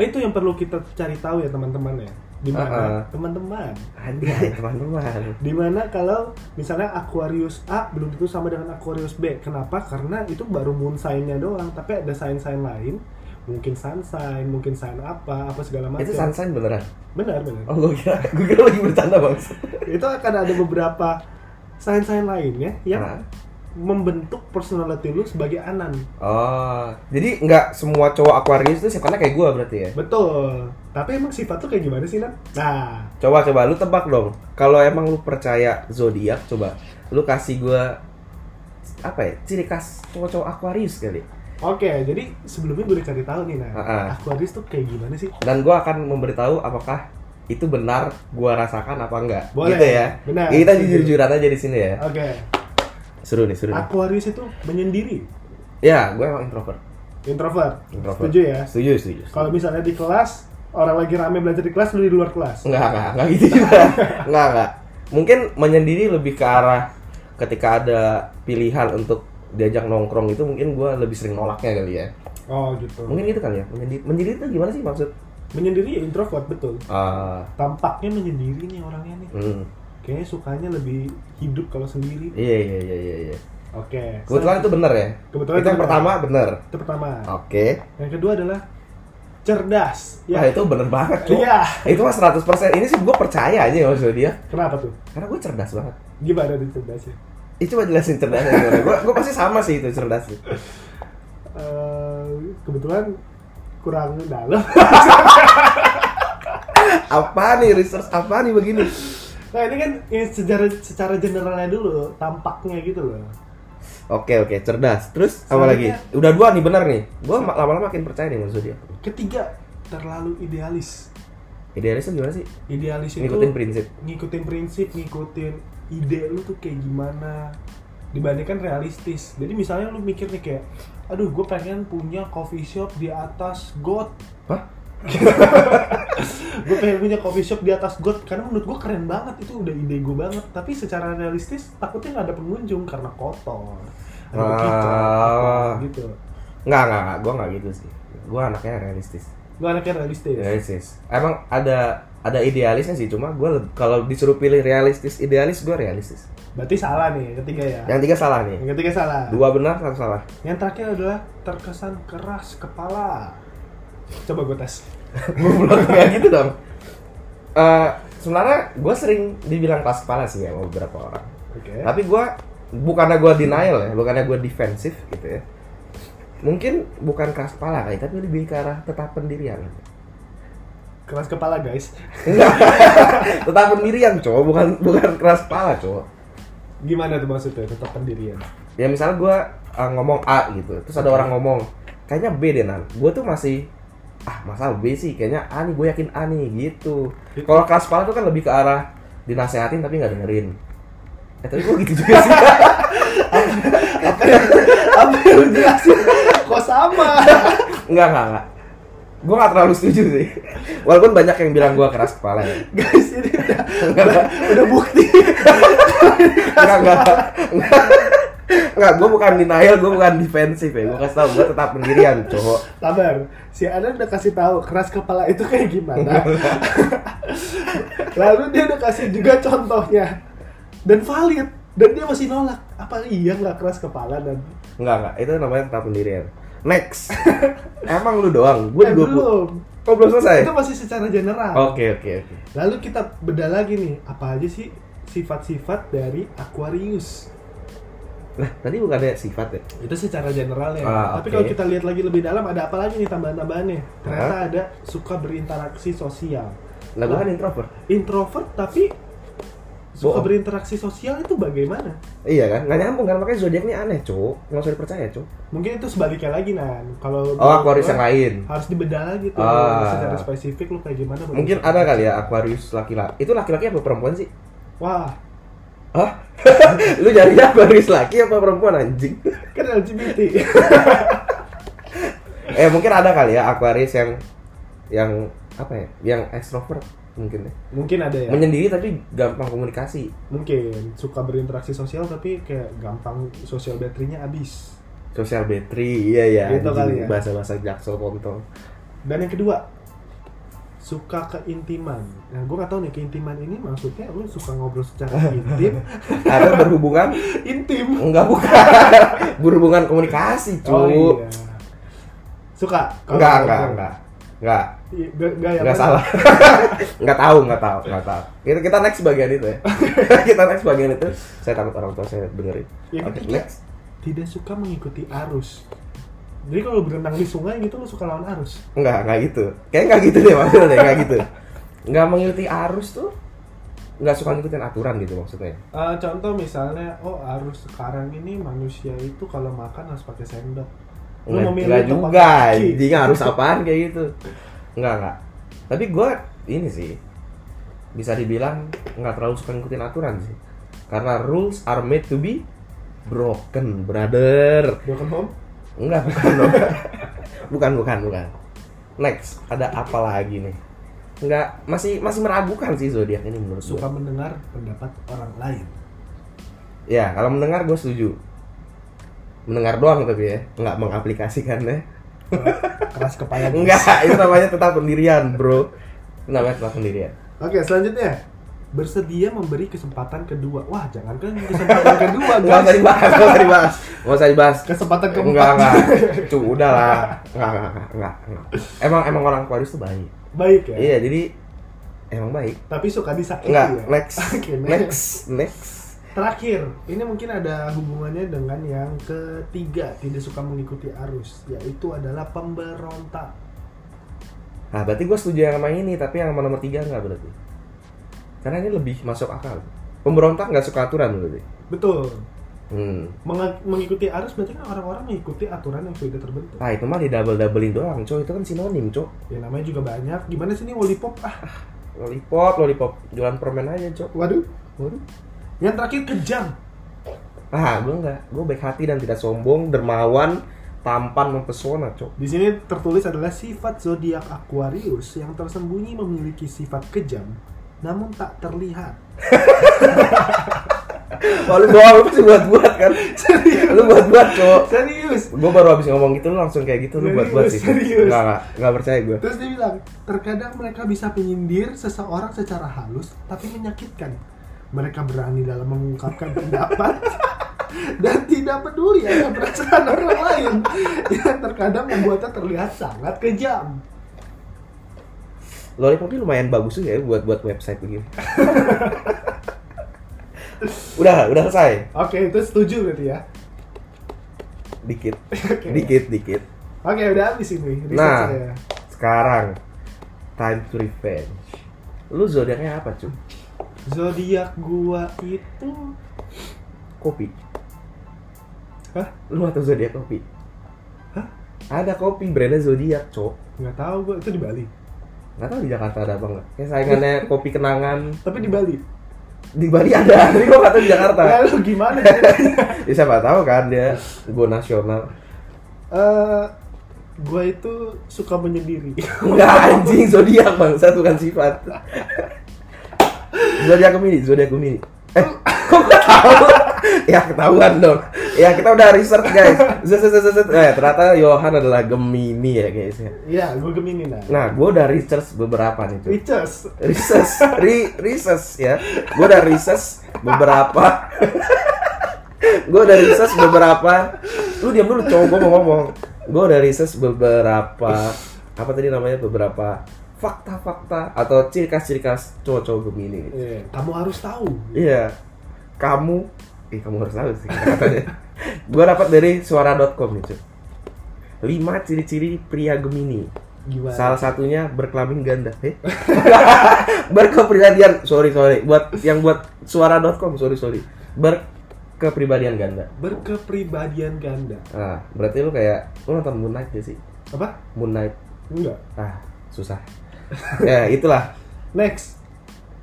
[SPEAKER 1] Nah, itu yang perlu kita cari tahu ya teman-teman ya di
[SPEAKER 2] Uh-uh.
[SPEAKER 1] mana teman-teman
[SPEAKER 2] Ada teman-teman.
[SPEAKER 1] di mana kalau misalnya Aquarius A belum tentu sama dengan Aquarius B kenapa karena itu baru moon sign-nya doang tapi ada sign-sign lain mungkin sun sign mungkin sign apa apa segala macam
[SPEAKER 2] Itu sansan beneran.
[SPEAKER 1] benar benar
[SPEAKER 2] Oh gua kira, gua kira lagi bercanda bang.
[SPEAKER 1] itu akan ada beberapa sign-sign lainnya yang
[SPEAKER 2] Hah?
[SPEAKER 1] membentuk personality lu sebagai anan.
[SPEAKER 2] Oh, jadi nggak semua cowok Aquarius itu sifatnya kayak gua berarti ya?
[SPEAKER 1] Betul. Tapi emang sifat tuh kayak gimana sih, Nan? Nah,
[SPEAKER 2] Coba coba lu tebak dong. Kalau emang lu percaya zodiak, coba lu kasih gua apa ya? Ciri khas cowok-cowok Aquarius kali.
[SPEAKER 1] oke. jadi sebelumnya gue udah cari tahu nih, Nan.
[SPEAKER 2] Heeh.
[SPEAKER 1] Aquarius tuh kayak gimana sih?
[SPEAKER 2] Dan gua akan memberitahu apakah itu benar gua rasakan apa enggak.
[SPEAKER 1] Boleh.
[SPEAKER 2] Gitu ya.
[SPEAKER 1] Benar.
[SPEAKER 2] Kita jujur-jujuran aja di sini ya.
[SPEAKER 1] Oke.
[SPEAKER 2] Seru nih, seru nih.
[SPEAKER 1] Aquarius itu menyendiri,
[SPEAKER 2] Ya, gue emang introvert.
[SPEAKER 1] introvert.
[SPEAKER 2] Introvert.
[SPEAKER 1] Setuju ya?
[SPEAKER 2] Setuju, setuju.
[SPEAKER 1] Kalau misalnya di kelas, orang lagi rame belajar di kelas, lu di luar kelas.
[SPEAKER 2] Enggak, enggak, enggak gitu juga. enggak, enggak. Mungkin menyendiri lebih ke arah ketika ada pilihan untuk diajak nongkrong itu mungkin gue lebih sering nolaknya kali ya.
[SPEAKER 1] Oh, gitu.
[SPEAKER 2] Mungkin gitu kali ya. Menyendiri, menyendiri itu gimana sih maksud?
[SPEAKER 1] Menyendiri ya introvert, betul.
[SPEAKER 2] Ah,
[SPEAKER 1] Tampaknya menyendiri nih orangnya nih.
[SPEAKER 2] hmm.
[SPEAKER 1] kayaknya sukanya lebih hidup kalau sendiri
[SPEAKER 2] Iya iya iya iya. iya.
[SPEAKER 1] oke
[SPEAKER 2] Kebetulan itu bener ya.
[SPEAKER 1] Kebetulan
[SPEAKER 2] itu
[SPEAKER 1] itu
[SPEAKER 2] yang
[SPEAKER 1] bener.
[SPEAKER 2] pertama bener.
[SPEAKER 1] itu pertama
[SPEAKER 2] Oke.
[SPEAKER 1] yang kedua adalah cerdas
[SPEAKER 2] Wah
[SPEAKER 1] ya
[SPEAKER 2] itu bener banget tuh.
[SPEAKER 1] iya
[SPEAKER 2] Itu mah 100% Ini sih gue percaya aja maksud dia.
[SPEAKER 1] kenapa tuh
[SPEAKER 2] Karena gue cerdas banget.
[SPEAKER 1] gimana tuh cerdasnya
[SPEAKER 2] Itu coba jelasin cerdasnya gimana. Gue gue pasti sama sih itu cerdas. sih.
[SPEAKER 1] Eh, kebetulan kurang dalam
[SPEAKER 2] Apa nih research apa nih begini?
[SPEAKER 1] nah ini kan ini secara secara generalnya dulu tampaknya gitu loh
[SPEAKER 2] Oke oke cerdas. Terus apa lagi?
[SPEAKER 1] Selanjutnya-
[SPEAKER 2] Udah dua nih bener nih. Gue lama-lama makin percaya nih maksud dia.
[SPEAKER 1] ketiga terlalu idealis
[SPEAKER 2] Idealis tuh gimana sih?
[SPEAKER 1] idealis itu
[SPEAKER 2] Ngikutin prinsip.
[SPEAKER 1] ngikutin prinsip, ngikutin ide lu tuh kayak gimana dibandingkan realistis. Jadi misalnya lu mikir nih kayak, aduh gue pengen punya coffee shop di atas got.
[SPEAKER 2] Hah?
[SPEAKER 1] gue pengen punya coffee shop di atas got karena menurut gue keren banget itu udah ide gue banget. Tapi secara realistis takutnya nggak ada pengunjung karena kotor, ada
[SPEAKER 2] Ah.
[SPEAKER 1] bekicot, kotor, gitu.
[SPEAKER 2] Nggak nggak nggak. Gue nggak gitu sih. Gue anaknya realistis.
[SPEAKER 1] Gue anaknya realistis.
[SPEAKER 2] Realistis. Emang ada ada idealisnya sih, cuma gue kalau disuruh pilih realistis idealis gue realistis.
[SPEAKER 1] Berarti salah nih ketiga ya.
[SPEAKER 2] Yang tiga salah nih.
[SPEAKER 1] Yang ketiga salah.
[SPEAKER 2] Dua benar, satu salah.
[SPEAKER 1] Yang terakhir adalah terkesan keras kepala. Coba gue tes.
[SPEAKER 2] Goblok kayak gitu dong. Eh, sebenarnya gue sering dibilang kelas kepala sih ya sama beberapa orang.
[SPEAKER 1] Oke.
[SPEAKER 2] Tapi gue bukannya gue denial ya, bukannya gue defensif gitu ya. Mungkin bukan keras kepala kali, tapi lebih ke arah tetap pendirian.
[SPEAKER 1] Keras kepala guys.
[SPEAKER 2] Enggak. tetap pendirian, cowok. Bukan bukan keras kepala, cowok.
[SPEAKER 1] Gimana tuh maksudnya tetap pendirian?
[SPEAKER 2] ya misalnya gue ngomong A gitu terus ada orang ngomong kayaknya B deh nan gue tuh masih ah masa B sih kayaknya A nih gue yakin A nih gitu
[SPEAKER 1] Gitu.
[SPEAKER 2] kalau kelas kepala tuh kan lebih ke arah dinasehatin tapi nggak dengerin eh tapi gue gitu juga sih
[SPEAKER 1] Apa yang jelasin? Kok sama?
[SPEAKER 2] nggak nggak nggak gue nggak terlalu setuju sih walaupun banyak yang bilang gue keras kepala ya
[SPEAKER 1] guys ini udah udah, udah bukti.
[SPEAKER 2] nggak nggak nggak nggak gue bukan denial gue bukan defensif ya gue kasih tau gue tetap pendirian cowok
[SPEAKER 1] Sabar. Si Ana udah kasih tahu keras kepala itu kayak gimana. Lalu dia udah kasih juga contohnya dan valid dan dia masih nolak. Apa iya nggak keras kepala dan
[SPEAKER 2] Enggak, enggak. Itu namanya tetap pendirian. Next. Emang lu doang. Gue
[SPEAKER 1] Eh,
[SPEAKER 2] juga belum.
[SPEAKER 1] belum.
[SPEAKER 2] Oh, belum selesai.
[SPEAKER 1] Itu masih secara general.
[SPEAKER 2] Oke, oke, oke.
[SPEAKER 1] Lalu kita beda lagi nih, apa aja sih sifat-sifat dari Aquarius?
[SPEAKER 2] Nah, tadi bukannya sifat ya?
[SPEAKER 1] Itu secara generalnya.
[SPEAKER 2] Ah,
[SPEAKER 1] Tapi
[SPEAKER 2] oke. Ah.
[SPEAKER 1] kalau kita lihat lagi lebih dalam, ada apa lagi nih tambahan-tambahannya? Ternyata ada suka berinteraksi sosial.
[SPEAKER 2] Lah, gue kan introvert.
[SPEAKER 1] Introvert tapi suka
[SPEAKER 2] Bohong.
[SPEAKER 1] berinteraksi sosial itu bagaimana?
[SPEAKER 2] Iya kan? Nggak nyambung kan? Makanya zodiak ini aneh, Cuk. Nggak usah dipercaya, Cuk.
[SPEAKER 1] Mungkin itu sebaliknya lagi, Nan. Kalau
[SPEAKER 2] Oh,
[SPEAKER 1] menurut
[SPEAKER 2] Aquarius
[SPEAKER 1] gua,
[SPEAKER 2] yang lain.
[SPEAKER 1] harus dibedah lagi tuh
[SPEAKER 2] Ah.
[SPEAKER 1] secara spesifik lu kayak gimana buat
[SPEAKER 2] Mungkin
[SPEAKER 1] introvert.
[SPEAKER 2] ada kali ya Aquarius laki-laki. Itu laki-laki apa perempuan sih?
[SPEAKER 1] wah
[SPEAKER 2] Hah? lu nyarinya Aquarius laki apa perempuan anjing?
[SPEAKER 1] kan LGBT
[SPEAKER 2] eh, mungkin ada kali ya Aquarius yang yang apa ya? Yang extrovert mungkin ya.
[SPEAKER 1] mungkin ada ya
[SPEAKER 2] Menyendiri tapi gampang komunikasi.
[SPEAKER 1] mungkin suka berinteraksi sosial tapi kayak gampang sosial baterainya habis
[SPEAKER 2] Sosial battery, iya ya.
[SPEAKER 1] Gitu kali ya.
[SPEAKER 2] Bahasa-bahasa jaksel kontol.
[SPEAKER 1] dan yang kedua suka keintiman nah gue gak tahu nih keintiman ini maksudnya lu suka ngobrol secara intim
[SPEAKER 2] Ada berhubungan?
[SPEAKER 1] intim
[SPEAKER 2] Enggak bukan. berhubungan komunikasi, cu.
[SPEAKER 1] oh iya Oh, suka
[SPEAKER 2] Enggak, enggak, enggak. Enggak,
[SPEAKER 1] enggak enggak ya
[SPEAKER 2] enggak
[SPEAKER 1] Mas?
[SPEAKER 2] salah. enggak tahu, enggak tahu, enggak tahu. Kita, kita next bagian itu ya. kita next bagian itu. Saya takut orang tua saya dengerin.
[SPEAKER 1] Yang
[SPEAKER 2] Oke,
[SPEAKER 1] ketiga.
[SPEAKER 2] next.
[SPEAKER 1] Iya kan? tidak suka mengikuti arus jadi kalau berenang di sungai gitu lu suka lawan arus
[SPEAKER 2] Enggak, enggak gitu. Kayaknya enggak gitu deh maksudnya, deh, enggak gitu. Enggak mengikuti arus tuh. Enggak suka ngikutin aturan gitu maksudnya.
[SPEAKER 1] Eh, contoh misalnya oh arus sekarang ini manusia itu kalau makan harus pakai sendok Lu
[SPEAKER 2] Enggak,
[SPEAKER 1] memilih
[SPEAKER 2] enggak
[SPEAKER 1] tempat
[SPEAKER 2] juga,
[SPEAKER 1] kaki.
[SPEAKER 2] jadi harus apaan kayak gitu. Enggak, enggak. Tapi gue ini sih bisa dibilang nggak terlalu suka ngikutin aturan sih. Karena rules are made to be broken, brother.
[SPEAKER 1] broken home
[SPEAKER 2] Enggak, bukan dong. bukan, bukan, bukan. Next, ada apa lagi nih? Enggak, masih masih meragukan sih zodiak ini menurut
[SPEAKER 1] suka
[SPEAKER 2] gue.
[SPEAKER 1] mendengar pendapat orang lain
[SPEAKER 2] Ya, kalau mendengar gue setuju. Mendengar doang tapi ya, nggak mengaplikasikannya.
[SPEAKER 1] keras kepala guys.
[SPEAKER 2] Enggak, itu namanya tetap pendirian, bro. Itu namanya tetap pendirian.
[SPEAKER 1] Oke, selanjutnya bersedia memberi kesempatan kedua wah jangan kan kesempatan kedua
[SPEAKER 2] Nggak usah
[SPEAKER 1] guys
[SPEAKER 2] dibahas, nggak usah dibahas, nggak usah dibahas.
[SPEAKER 1] kesempatan keempat
[SPEAKER 2] Enggak, enggak. Cuk, udah lah. Enggak, enggak, enggak, enggak, enggak. Emang emang orang Aquarius tuh baik.
[SPEAKER 1] baik ya
[SPEAKER 2] Iya, jadi emang baik.
[SPEAKER 1] tapi suka disakiti
[SPEAKER 2] Enggak,
[SPEAKER 1] ya
[SPEAKER 2] next.
[SPEAKER 1] Oke, next.
[SPEAKER 2] Next, next.
[SPEAKER 1] terakhir ini mungkin ada hubungannya dengan yang ketiga tidak suka mengikuti arus yaitu adalah pemberontak
[SPEAKER 2] Nah, berarti gue setuju yang sama ini, tapi yang sama nomor tiga enggak berarti. Karena ini lebih masuk akal. Pemberontak nggak suka aturan berarti.
[SPEAKER 1] betul
[SPEAKER 2] Hmm.
[SPEAKER 1] Meng- mengikuti arus berarti kan orang-orang mengikuti aturan yang sudah terbentuk
[SPEAKER 2] Ah, itu mah di double-doublein doang, Cok. Itu kan sinonim, Cok.
[SPEAKER 1] ya namanya juga banyak gimana sih ini lollipop ah
[SPEAKER 2] Lollipop, lollipop. Jualan permen aja, Cok.
[SPEAKER 1] waduh
[SPEAKER 2] Waduh.
[SPEAKER 1] yang terakhir kejam
[SPEAKER 2] Ah, gue enggak. Gue baik hati dan tidak sombong, dermawan, tampan, mempesona, Cok.
[SPEAKER 1] Di sini tertulis adalah sifat zodiak Aquarius yang tersembunyi memiliki sifat kejam namun tak terlihat.
[SPEAKER 2] Wah, lu doang lu pasti buat-buat kan? lu buat-buat, Cok.
[SPEAKER 1] Serius.
[SPEAKER 2] Gue baru habis ngomong gitu, lu langsung kayak gitu, lu
[SPEAKER 1] Serius,
[SPEAKER 2] buat-buat sih.
[SPEAKER 1] serius.
[SPEAKER 2] Enggak, enggak, enggak percaya gue.
[SPEAKER 1] Terus dia bilang, terkadang mereka bisa menyindir seseorang secara halus tapi menyakitkan. Mereka berani dalam mengungkapkan pendapat dan tidak peduli akan perasaan orang lain yang terkadang membuatnya terlihat sangat kejam.
[SPEAKER 2] Lollipop ini lumayan bagus juga ya buat-buat website begini. udah, udah selesai.
[SPEAKER 1] Oke, itu setuju berarti ya.
[SPEAKER 2] Dikit,
[SPEAKER 1] Oke,
[SPEAKER 2] dikit, dikit.
[SPEAKER 1] Oke, udah habis ini. riset
[SPEAKER 2] Nah.
[SPEAKER 1] saya.
[SPEAKER 2] Sekarang time to revenge. Lu zodiaknya apa, cuy?
[SPEAKER 1] zodiak gua itu
[SPEAKER 2] Kopi.
[SPEAKER 1] Hah?
[SPEAKER 2] Lu atau zodiak kopi?
[SPEAKER 1] Hah?
[SPEAKER 2] Ada kopi brandnya zodiak, cok.
[SPEAKER 1] nggak tahu gua itu di Bali
[SPEAKER 2] Gak tau di Jakarta ada apa nggak? Kayak saingannya kopi kenangan
[SPEAKER 1] tapi di Bali
[SPEAKER 2] di Bali ada, tapi gua nggak tahu di Jakarta.
[SPEAKER 1] lalu gimana ceritanya
[SPEAKER 2] Ya siapa tahu kan dia go nasional.
[SPEAKER 1] Eh, gua itu suka menyendiri
[SPEAKER 2] Enggak anjing zodiak bangsa bukan sifat. zodiak Gemini, zodiak Gemini. Eh, kok gak tahu? ya ketahuan dong. Ya kita udah research guys. Zet, zet, zet, zet. Eh, ternyata Johan adalah Gemini ya guys. ya.
[SPEAKER 1] ya gua gemini nah
[SPEAKER 2] Nah, gue udah research beberapa nih cuy.
[SPEAKER 1] Witches
[SPEAKER 2] Research, re, research ya. Gue udah research beberapa. gue udah research beberapa. Lu diam dulu cowok gue mau ngomong. Gue udah research beberapa apa tadi namanya beberapa fakta-fakta atau ciri khas-ciri khas cowok-cowok Gemini.
[SPEAKER 1] Eh, kamu harus tahu
[SPEAKER 2] Iya. Kamu, eh kamu harus tahu sih katanya. gue dapat dari suara.com nih cuy. 5 ciri-ciri pria Gemini.
[SPEAKER 1] gimana
[SPEAKER 2] Salah satunya berkelamin ganda. Eh? berkepribadian, sorry sorry, buat yang buat suara.com, sorry sorry, berkepribadian ganda.
[SPEAKER 1] berkepribadian ganda
[SPEAKER 2] Nah, berarti lu kayak lu nonton Moon Knight gak sih?
[SPEAKER 1] apa
[SPEAKER 2] Moon Knight,
[SPEAKER 1] enggak
[SPEAKER 2] ah susah. ya itulah.
[SPEAKER 1] next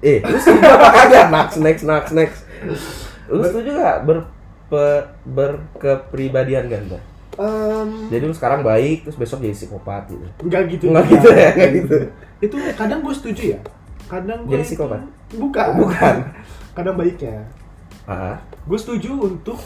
[SPEAKER 2] Eh, lu setuju apa kagak? Next next next next. Lu setuju gak berpe- berkepribadian ganda?
[SPEAKER 1] Em,
[SPEAKER 2] Jadi lu sekarang baik, terus besok jadi psikopat gitu.
[SPEAKER 1] enggak gitu
[SPEAKER 2] Enggak gitu ya, enggak gitu.
[SPEAKER 1] itu kadang gue setuju ya kadang gue
[SPEAKER 2] Jadi psikopat? Oh,
[SPEAKER 1] bukan
[SPEAKER 2] Bukan.
[SPEAKER 1] kadang baiknya
[SPEAKER 2] Ah,
[SPEAKER 1] gue setuju untuk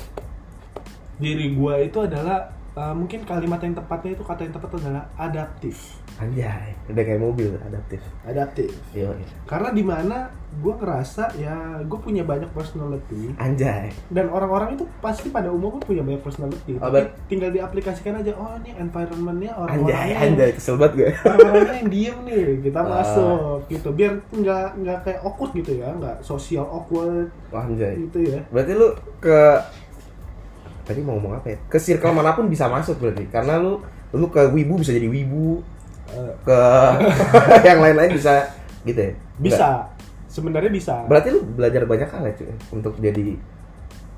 [SPEAKER 1] diri gue itu adalah eh, mungkin kalimat yang tepatnya itu kata yang tepat adalah adaptif
[SPEAKER 2] anjay, udah kayak mobil adaptif.
[SPEAKER 1] adaptif
[SPEAKER 2] Yo,
[SPEAKER 1] karena di mana gue ngerasa ya gue punya banyak personality
[SPEAKER 2] anjay.
[SPEAKER 1] dan orang-orang itu pasti pada umumnya punya banyak personality
[SPEAKER 2] Oh,
[SPEAKER 1] tapi
[SPEAKER 2] bet-
[SPEAKER 1] tinggal diaplikasikan aja oh ini environmentnya
[SPEAKER 2] Anjay,
[SPEAKER 1] orang-orangnya
[SPEAKER 2] anjay, kesel banget gue.
[SPEAKER 1] orang-orangnya yang diem nih kita
[SPEAKER 2] Ah.
[SPEAKER 1] masuk gitu biar nggak nggak kayak awkward gitu ya nggak social awkward
[SPEAKER 2] Wah, anjay.
[SPEAKER 1] gitu ya
[SPEAKER 2] Berarti lu ke tadi mau ngomong apa ya? Ke circle manapun bisa masuk berarti. Karena lu lu ke wibu bisa jadi wibu,
[SPEAKER 1] Eh,
[SPEAKER 2] ke yang lain-lain bisa gitu ya. Nggak.
[SPEAKER 1] bisa sebenarnya bisa
[SPEAKER 2] Berarti lu belajar banyak hal ya, cuy, untuk jadi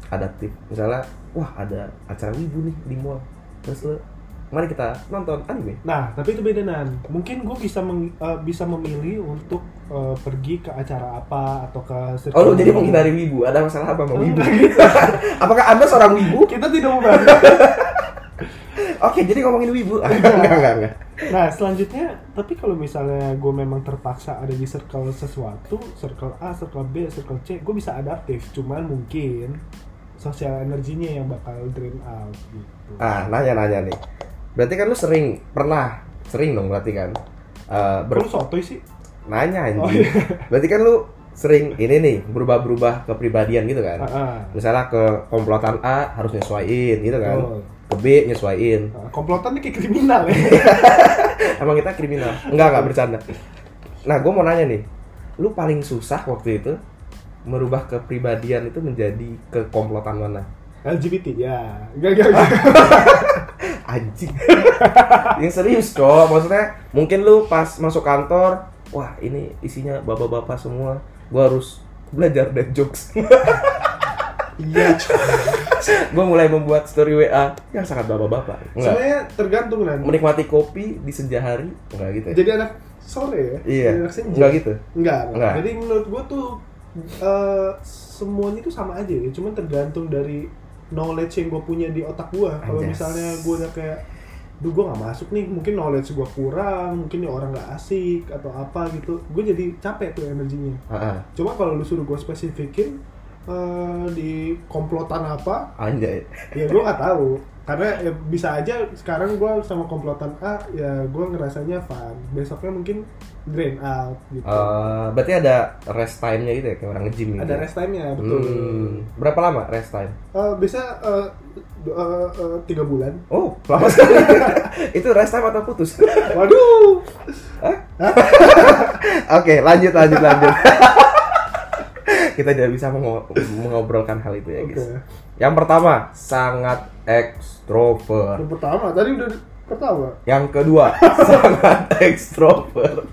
[SPEAKER 2] adaptif. Misalnya, wah ada acara wibu nih di mall. Terus lu mari kita nonton anime.
[SPEAKER 1] Nah, tapi itu beda Nan. Mungkin gue bisa meng- eh, bisa memilih untuk eh, pergi ke acara apa atau ke circle-
[SPEAKER 2] Oh, lu jadi menghindari wibu. Ada masalah apa sama wibu?
[SPEAKER 1] Enggak
[SPEAKER 2] Apakah Anda seorang wibu?
[SPEAKER 1] Kita tidak membahas.
[SPEAKER 2] Oke, jadi ngomongin wibu. enggak, enggak, enggak.
[SPEAKER 1] nah, selanjutnya, tapi kalau misalnya gue memang terpaksa ada di circle sesuatu, circle A, circle B, circle C, gue bisa adaptif. Cuman mungkin sosial energinya yang bakal drain out gitu.
[SPEAKER 2] Ah, nanya-nanya nih. Berarti kan lu sering, pernah, sering dong berarti kan. eh,
[SPEAKER 1] Ber-
[SPEAKER 2] ber-
[SPEAKER 1] sotoy sih?
[SPEAKER 2] nanya anjing.
[SPEAKER 1] Oh, iya.
[SPEAKER 2] Berarti kan lu sering ini nih berubah-berubah kepribadian gitu kan.
[SPEAKER 1] Heeh.
[SPEAKER 2] Misalnya ke komplotan A harus nyesuaiin gitu kan.
[SPEAKER 1] Betul.
[SPEAKER 2] Ke B nyesuaiin.
[SPEAKER 1] Nah, komplotan ini kayak kriminal ya
[SPEAKER 2] Emang kita kriminal? Enggak, enggak bercanda. Nah, gue mau nanya nih. Lu paling susah waktu itu merubah kepribadian itu menjadi kekomplotan mana?
[SPEAKER 1] LGBT ya gak gak gak
[SPEAKER 2] Anjing. Yang serius, kok. Maksudnya, mungkin lu pas masuk kantor, wah, ini isinya bapak-bapak semua. Gua harus belajar dad jokes.
[SPEAKER 1] iya coy.
[SPEAKER 2] Gua mulai membuat story WA yang sangat bapak-bapak. Enggak.
[SPEAKER 1] sebenarnya tergantung nanti
[SPEAKER 2] Menikmati kopi di senja hari, enggak gitu ya?
[SPEAKER 1] jadi anak sore ya
[SPEAKER 2] Iya.
[SPEAKER 1] Jadi anak senja
[SPEAKER 2] Enggak gitu.
[SPEAKER 1] Enggak,
[SPEAKER 2] Enggak.
[SPEAKER 1] enggak. Jadi menurut gua tuh eh, semuanya tuh sama aja ya, cuman tergantung dari knowledge yang gua punya di otak gua. Kalau
[SPEAKER 2] Anjas.
[SPEAKER 1] misalnya gua udah kayak duh gua nggak masuk nih, mungkin knowledge gua kurang, mungkin nih orang nggak asik atau apa gitu. Gua jadi capek tuh energinya.
[SPEAKER 2] Heeh.
[SPEAKER 1] Cuma kalau lu suruh gua spesifikin eh, di komplotan apa,
[SPEAKER 2] Anjay.
[SPEAKER 1] ya gua nggak tahu. Karena ya, bisa aja sekarang gua sama komplotan A, ya gua ngerasanya fun. Besoknya mungkin drain out gitu.
[SPEAKER 2] Eh, berarti ada rest time-nya gitu ya, kayak orang nge-gym gitu.
[SPEAKER 1] ada
[SPEAKER 2] ya?
[SPEAKER 1] rest time-nya betul
[SPEAKER 2] Hmm. Berapa lama rest time?
[SPEAKER 1] Eh, bisa eh, du- eh, eh, tiga bulan
[SPEAKER 2] Oh, lama sekali. Itu rest time atau putus? Oke,
[SPEAKER 1] waduh
[SPEAKER 2] lanjut lanjut lanjut. Kita tidak bisa mengo- mengobrolkan hal itu ya,
[SPEAKER 1] oke
[SPEAKER 2] guys. Yang pertama, sangat ekstrovert.
[SPEAKER 1] yang pertama tadi udah di- pertama
[SPEAKER 2] Yang kedua, sangat ekstrovert.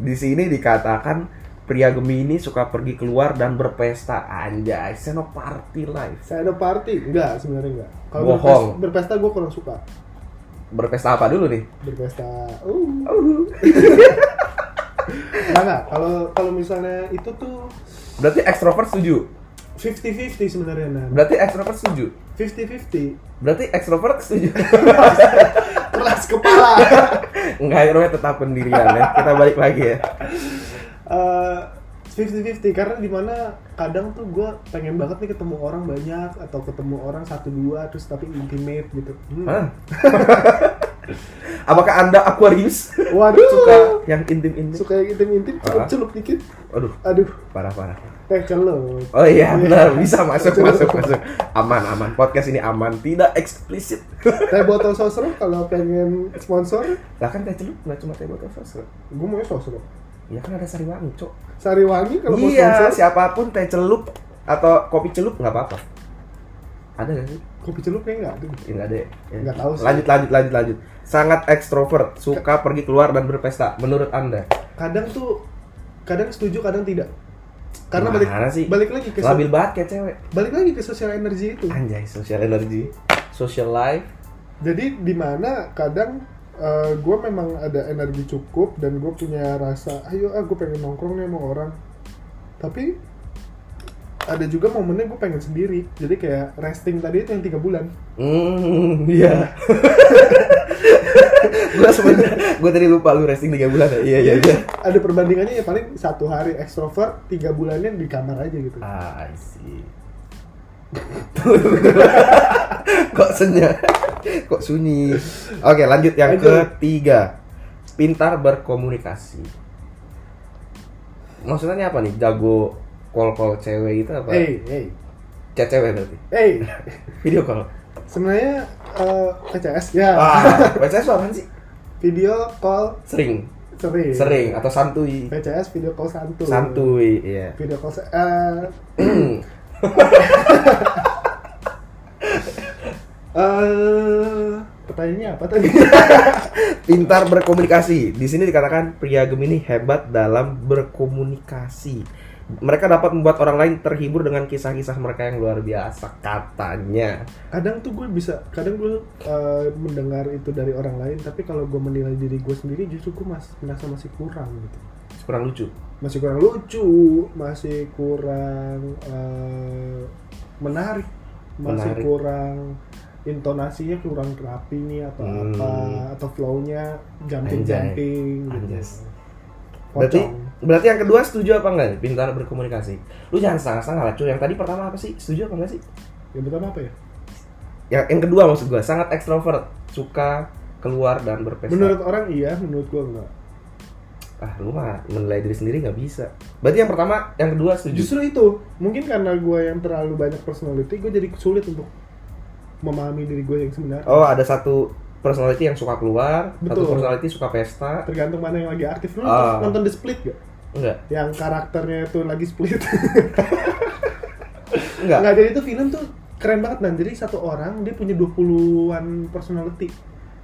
[SPEAKER 2] Di sini dikatakan pria Gemini suka pergi keluar dan berpesta. Anjay, seno party life.
[SPEAKER 1] saya ada party enggak sebenarnya enggak kalau
[SPEAKER 2] Bohong.
[SPEAKER 1] berpesta, berpesta gue kurang suka
[SPEAKER 2] Berpesta apa dulu nih?
[SPEAKER 1] berpesta uh enggak enggak. kalau kalau misalnya itu tuh
[SPEAKER 2] Berarti ekstrovert setuju.
[SPEAKER 1] 50-50 sebenarnya nan
[SPEAKER 2] Berarti ekstrovert setuju.
[SPEAKER 1] 50-50
[SPEAKER 2] Berarti ekstrovert setuju.
[SPEAKER 1] keras kepala
[SPEAKER 2] Enggak, Roy tetap pendirian ya. Kita balik lagi ya.
[SPEAKER 1] Eh, 50-50 karena dimana kadang tuh gue pengen banget nih ketemu orang banyak atau ketemu orang satu dua terus tapi intimate gitu Hmm.
[SPEAKER 2] Hah? Apakah Anda Aquarius?
[SPEAKER 1] waduh
[SPEAKER 2] Suka yang intim-intim?
[SPEAKER 1] suka yang intim-intim celup
[SPEAKER 2] Ah.
[SPEAKER 1] celup dikit
[SPEAKER 2] Aduh,
[SPEAKER 1] aduh
[SPEAKER 2] parah-parah.
[SPEAKER 1] eh celup
[SPEAKER 2] Oh iya, benar. Bisa masuk, masuk, masuk. Aman, aman. Podcast ini aman. Tidak eksplisit.
[SPEAKER 1] teh botol sosro kalau pengen sponsor
[SPEAKER 2] Lah kan teh celup nggak cuma teh botol sosro.
[SPEAKER 1] gue mau sosro
[SPEAKER 2] Ya kan ada sari wangi, Cok.
[SPEAKER 1] sari wangi kalau mau
[SPEAKER 2] Iya,
[SPEAKER 1] sponsor
[SPEAKER 2] siapapun teh celup atau kopi celup nggak apa-apa. Ada nggak sih?
[SPEAKER 1] kopi celup kayaknya nggak ada
[SPEAKER 2] Ya, nggak ada ya? ya.
[SPEAKER 1] Nggak tahu sih.
[SPEAKER 2] Lanjut, lanjut, lanjut, lanjut. Sangat ekstrovert, suka pergi keluar dan berpesta. Menurut Anda?
[SPEAKER 1] kadang tuh kadang setuju kadang tidak karena balik
[SPEAKER 2] Gimana sih?
[SPEAKER 1] balik lagi ke so-
[SPEAKER 2] Labil banget kayak cewek.
[SPEAKER 1] balik lagi ke social energy itu
[SPEAKER 2] Anjay, social energy, social life.
[SPEAKER 1] Jadi di mana kadang gue memang ada energi cukup dan gue punya rasa, ayo ah gue pengen nongkrong nih sama orang. Tapi ada juga momennya gue pengen sendiri. Jadi kayak resting tadi itu yang tiga bulan.
[SPEAKER 2] Hmm, iya. gua sebenarnya gua tadi lupa lu resting 3 bulan ya. Iya, iya, iya.
[SPEAKER 1] Ada perbandingannya ya paling satu hari ekstrovert, tiga bulannya di kamar aja gitu.
[SPEAKER 2] Ah, I see. Kok senja? Kok sunyi? Oke, lanjut yang
[SPEAKER 1] Lanjut.
[SPEAKER 2] ketiga. Pintar berkomunikasi. Maksudnya ini apa nih? Jago call call cewek itu apa?
[SPEAKER 1] Hey, hey,
[SPEAKER 2] Chat cewek berarti.
[SPEAKER 1] hey.
[SPEAKER 2] Video call.
[SPEAKER 1] Sebenarnya eh, PCS ya
[SPEAKER 2] Ah, PCS apaan sih?
[SPEAKER 1] video call
[SPEAKER 2] Sering,
[SPEAKER 1] sering.
[SPEAKER 2] sering atau santuy.
[SPEAKER 1] PCS video call santuy.
[SPEAKER 2] Santuy, iya.
[SPEAKER 1] Video call se- eh, Eh, pertanyaannya apa tadi?
[SPEAKER 2] Pintar berkomunikasi. Di sini dikatakan pria Gemini hebat dalam berkomunikasi. Mereka dapat membuat orang lain terhibur dengan kisah-kisah mereka yang luar biasa katanya.
[SPEAKER 1] kadang tuh gue bisa, kadang gue eh, mendengar itu dari orang lain, tapi kalau gue menilai diri gue sendiri, justru gue mas, merasa masih kurang gitu.
[SPEAKER 2] Kurang lucu.
[SPEAKER 1] Masih kurang lucu, masih kurang eh, menarik, masih
[SPEAKER 2] Menarik.
[SPEAKER 1] kurang intonasinya kurang rapi nih atau
[SPEAKER 2] Hmm.
[SPEAKER 1] apa atau flow-nya jumping-jumping gitu.
[SPEAKER 2] Anjas. Berarti
[SPEAKER 1] Pocong.
[SPEAKER 2] berarti yang kedua setuju apa enggak? nih? Pintar berkomunikasi. Lu jangan setengah-setengah lah, cuy. Yang tadi pertama apa sih? Setuju apa enggak sih?
[SPEAKER 1] Yang pertama apa ya?
[SPEAKER 2] Yang, yang kedua maksud gua sangat ekstrovert, suka keluar dan berpesta.
[SPEAKER 1] Menurut orang iya, menurut gue enggak.
[SPEAKER 2] ah lu mah menilai diri sendiri nggak bisa berarti yang pertama yang kedua setuju
[SPEAKER 1] Justru itu, mungkin karena gue yang terlalu banyak personality, gue jadi sulit untuk memahami diri gue yang sebenarnya.
[SPEAKER 2] oh ada satu personality yang suka keluar satu
[SPEAKER 1] Betul.
[SPEAKER 2] personality suka pesta
[SPEAKER 1] Tergantung mana yang lagi aktif. Lu
[SPEAKER 2] Ah.
[SPEAKER 1] nonton The Split gak?
[SPEAKER 2] enggak
[SPEAKER 1] Yang karakternya itu lagi split.
[SPEAKER 2] enggak
[SPEAKER 1] Nggak, jadi itu film tuh keren banget dan jadi satu orang dia punya 20-an personality.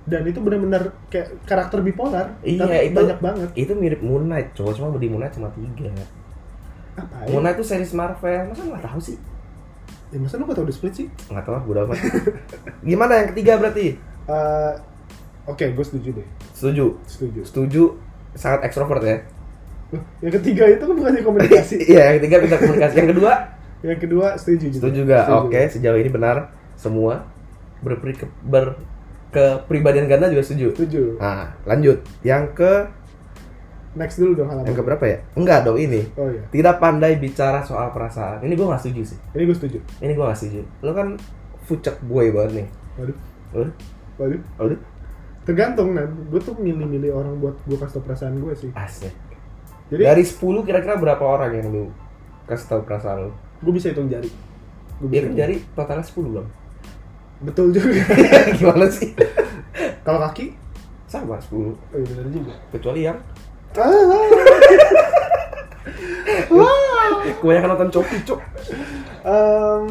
[SPEAKER 1] Dan itu benar-benar kayak karakter bipolar.
[SPEAKER 2] Iya,
[SPEAKER 1] tapi
[SPEAKER 2] itu-
[SPEAKER 1] banyak banget.
[SPEAKER 2] itu mirip Moon Knight cowok cuma di Moon Knight cuma tiga
[SPEAKER 1] Apa ya?
[SPEAKER 2] Moon Knight tuh series Marvel masa lu nggak tahu sih
[SPEAKER 1] Ya, masa lu gak tau The Split sih?
[SPEAKER 2] nggak tahu udah amat gimana yang ketiga berarti
[SPEAKER 1] Eh, Oke, gue setuju deh.
[SPEAKER 2] setuju
[SPEAKER 1] Setuju.
[SPEAKER 2] setuju sangat ekstrovert ya
[SPEAKER 1] Loh, Yang ketiga itu kan bukannya komunikasi.
[SPEAKER 2] iya yang ketiga pintar komunikasi yang kedua
[SPEAKER 1] yang kedua setuju juga.
[SPEAKER 2] setuju juga oke sejauh ini benar semua berperi ke, ber- kepribadian ganda juga setuju
[SPEAKER 1] Setuju.
[SPEAKER 2] nah lanjut yang ke
[SPEAKER 1] Next dulu dong halaman.
[SPEAKER 2] yang ke berapa ya enggak dong ini
[SPEAKER 1] Oh iya,
[SPEAKER 2] tidak pandai bicara soal perasaan ini gue nggak setuju sih
[SPEAKER 1] ini gue setuju.
[SPEAKER 2] ini gue nggak setuju lo kan fucek boy banget nih
[SPEAKER 1] Waduh,
[SPEAKER 2] Lo-
[SPEAKER 1] waduh.
[SPEAKER 2] lo
[SPEAKER 1] Tergantung nan, gue tuh milih-milih orang buat gue kasih tau perasaan gue sih.
[SPEAKER 2] asik
[SPEAKER 1] Jadi
[SPEAKER 2] dari 10 kira-kira berapa orang yang lu kasih tahu perasaan lu
[SPEAKER 1] gue bisa hitung jari. Gue
[SPEAKER 2] ya kan dari totalnya 10 belum
[SPEAKER 1] Betul juga.
[SPEAKER 2] gimana sih
[SPEAKER 1] Kalau kaki,
[SPEAKER 2] sama 10
[SPEAKER 1] oh iya benar juga.
[SPEAKER 2] kecuali yang
[SPEAKER 1] Ah,
[SPEAKER 2] kebanyakan nonton coki cok
[SPEAKER 1] em,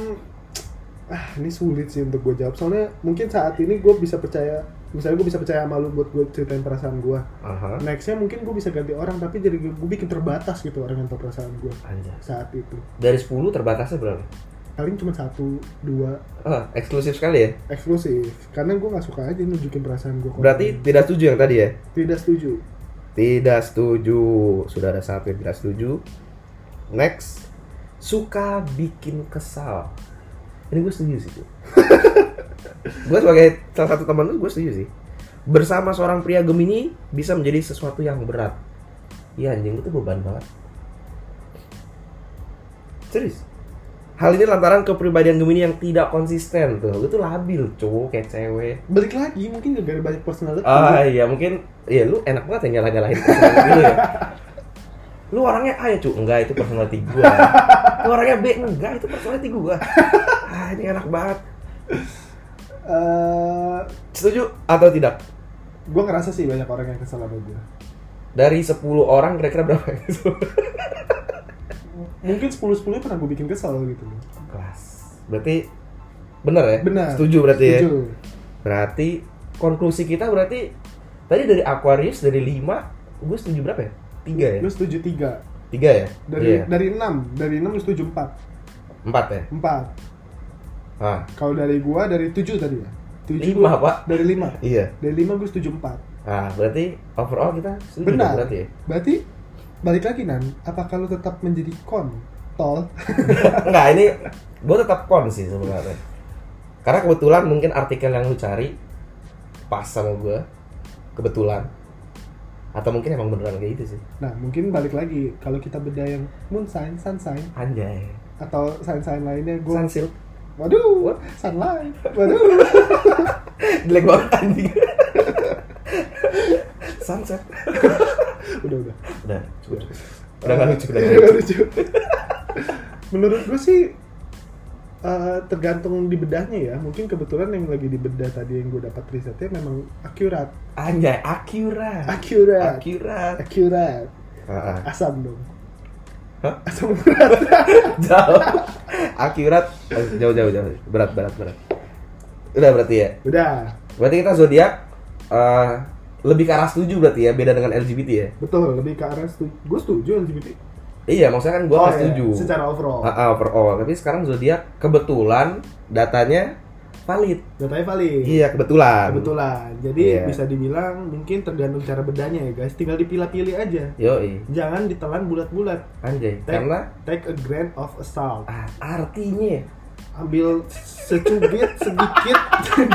[SPEAKER 1] ah, ini sulit sih untuk gue jawab. Soalnya mungkin saat ini gue bisa percaya, misalnya gue bisa percaya sama lu buat gue ceritain perasaan gue.
[SPEAKER 2] aha
[SPEAKER 1] Nextnya mungkin gue bisa ganti orang, tapi jadi gue bikin terbatas gitu orang yang tau perasaan gue
[SPEAKER 2] Anjay.
[SPEAKER 1] saat itu.
[SPEAKER 2] Dari 10 terbatasnya berapa?
[SPEAKER 1] Paling cuma satu, dua
[SPEAKER 2] Ah, eksklusif sekali ya.
[SPEAKER 1] eksklusif. Karena gue nggak suka aja nunjukin perasaan gue.
[SPEAKER 2] Berarti tidak setuju yang tadi ya?
[SPEAKER 1] Tidak setuju.
[SPEAKER 2] Tidak setuju. Sudah ada satu yang tidak setuju. Next, suka bikin kesal. Ini gue setuju sih. gue sebagai salah satu teman lu, gue setuju sih. Bersama seorang pria Gemini bisa menjadi sesuatu yang berat. Iya anjing, itu beban banget. Serius. Hal ini lantaran kepribadian Gemini yang tidak konsisten tuh. Lu tuh labil, cowok kayak cewek.
[SPEAKER 1] Balik lagi mungkin gara-gara banyak personality.
[SPEAKER 2] Ah iya mungkin ya lu enak banget ya nyalah nyalahin personality lu ya. Lu orangnya A ya cu, enggak itu personality gua. Lu orangnya B, enggak itu personality gua. Ah ini enak banget.
[SPEAKER 1] Eh,
[SPEAKER 2] Setuju atau tidak?
[SPEAKER 1] gue ngerasa sih banyak orang yang kesel sama gue.
[SPEAKER 2] Dari 10 orang kira-kira berapa yang kesel?
[SPEAKER 1] Mungkin 10-10 pernah gue bikin kesel gitu. loh.
[SPEAKER 2] Kelas. Berarti bener ya?
[SPEAKER 1] Benar.
[SPEAKER 2] Setuju berarti ya?
[SPEAKER 1] Setuju.
[SPEAKER 2] Berarti konklusi kita berarti tadi dari Aquarius dari 5 gue setuju berapa ya? 3 ya?
[SPEAKER 1] Lu setuju 3.
[SPEAKER 2] 3 ya?
[SPEAKER 1] Dari
[SPEAKER 2] Iya.
[SPEAKER 1] dari 6. Dari 6 lu setuju 4.
[SPEAKER 2] 4 ya?
[SPEAKER 1] 4.
[SPEAKER 2] Ah,
[SPEAKER 1] Kalau dari gue dari 7 tadi ya. 7
[SPEAKER 2] 5 Pak.
[SPEAKER 1] dari 5.
[SPEAKER 2] Iya.
[SPEAKER 1] Dari 5 gue setuju 4.
[SPEAKER 2] Nah, berarti overall kita setuju
[SPEAKER 1] Benar.
[SPEAKER 2] berarti ya?
[SPEAKER 1] Berarti balik lagi Nan, apakah lu tetap menjadi kon? Tol.
[SPEAKER 2] Enggak, ini gue tetap kon sih sebenarnya. Karena kebetulan mungkin artikel yang lu cari pas sama gue, kebetulan. Atau mungkin emang beneran kayak gitu sih.
[SPEAKER 1] Nah, mungkin balik lagi kalau kita beda yang moon sign, sun sign
[SPEAKER 2] Anjay.
[SPEAKER 1] atau sign-sign lainnya gue
[SPEAKER 2] Sunsil.
[SPEAKER 1] Waduh,
[SPEAKER 2] What?
[SPEAKER 1] sunlight. Waduh.
[SPEAKER 2] Jelek banget anjing. Sunset.
[SPEAKER 1] udah udah.
[SPEAKER 2] Udah, cukup. Udah nggak lucu, udah nggak
[SPEAKER 1] Udah
[SPEAKER 2] lucu.
[SPEAKER 1] lucu. Menurut gue sih eh, tergantung di bedahnya ya. Mungkin kebetulan yang lagi di bedah tadi yang gue dapat risetnya memang akurat,
[SPEAKER 2] Anjay, akurat.
[SPEAKER 1] akurat,
[SPEAKER 2] Akurat.
[SPEAKER 1] akurat.
[SPEAKER 2] Ah, ah.
[SPEAKER 1] Asam dong.
[SPEAKER 2] Hah?
[SPEAKER 1] Asam urat.
[SPEAKER 2] Jauh. Akurat. Jauh, jauh, jauh. Berat, berat, berat. Udah berarti ya?
[SPEAKER 1] Udah,
[SPEAKER 2] Berarti kita zodiak eh, lebih ke arah setuju berarti ya, beda dengan LGBT ya.
[SPEAKER 1] betul. Lebih ke arah setuju. Gue setuju LGBT.
[SPEAKER 2] Iya, maksudnya kan gua nggak
[SPEAKER 1] iya,
[SPEAKER 2] setuju.
[SPEAKER 1] Secara overall,
[SPEAKER 2] Ah, ah, overall, tapi sekarang zodiak kebetulan datanya valid.
[SPEAKER 1] datanya valid.
[SPEAKER 2] Iya, kebetulan.
[SPEAKER 1] Kebetulan. Jadi
[SPEAKER 2] Iya.
[SPEAKER 1] bisa dibilang mungkin tergantung cara bedahnya ya guys. Tinggal dipilah-pilih aja.
[SPEAKER 2] Yoi,
[SPEAKER 1] Jangan ditelan bulat-bulat.
[SPEAKER 2] anjay.
[SPEAKER 1] Take,
[SPEAKER 2] Karena
[SPEAKER 1] take a grain of salt.
[SPEAKER 2] ah, artinya
[SPEAKER 1] Ambil secubit sedikit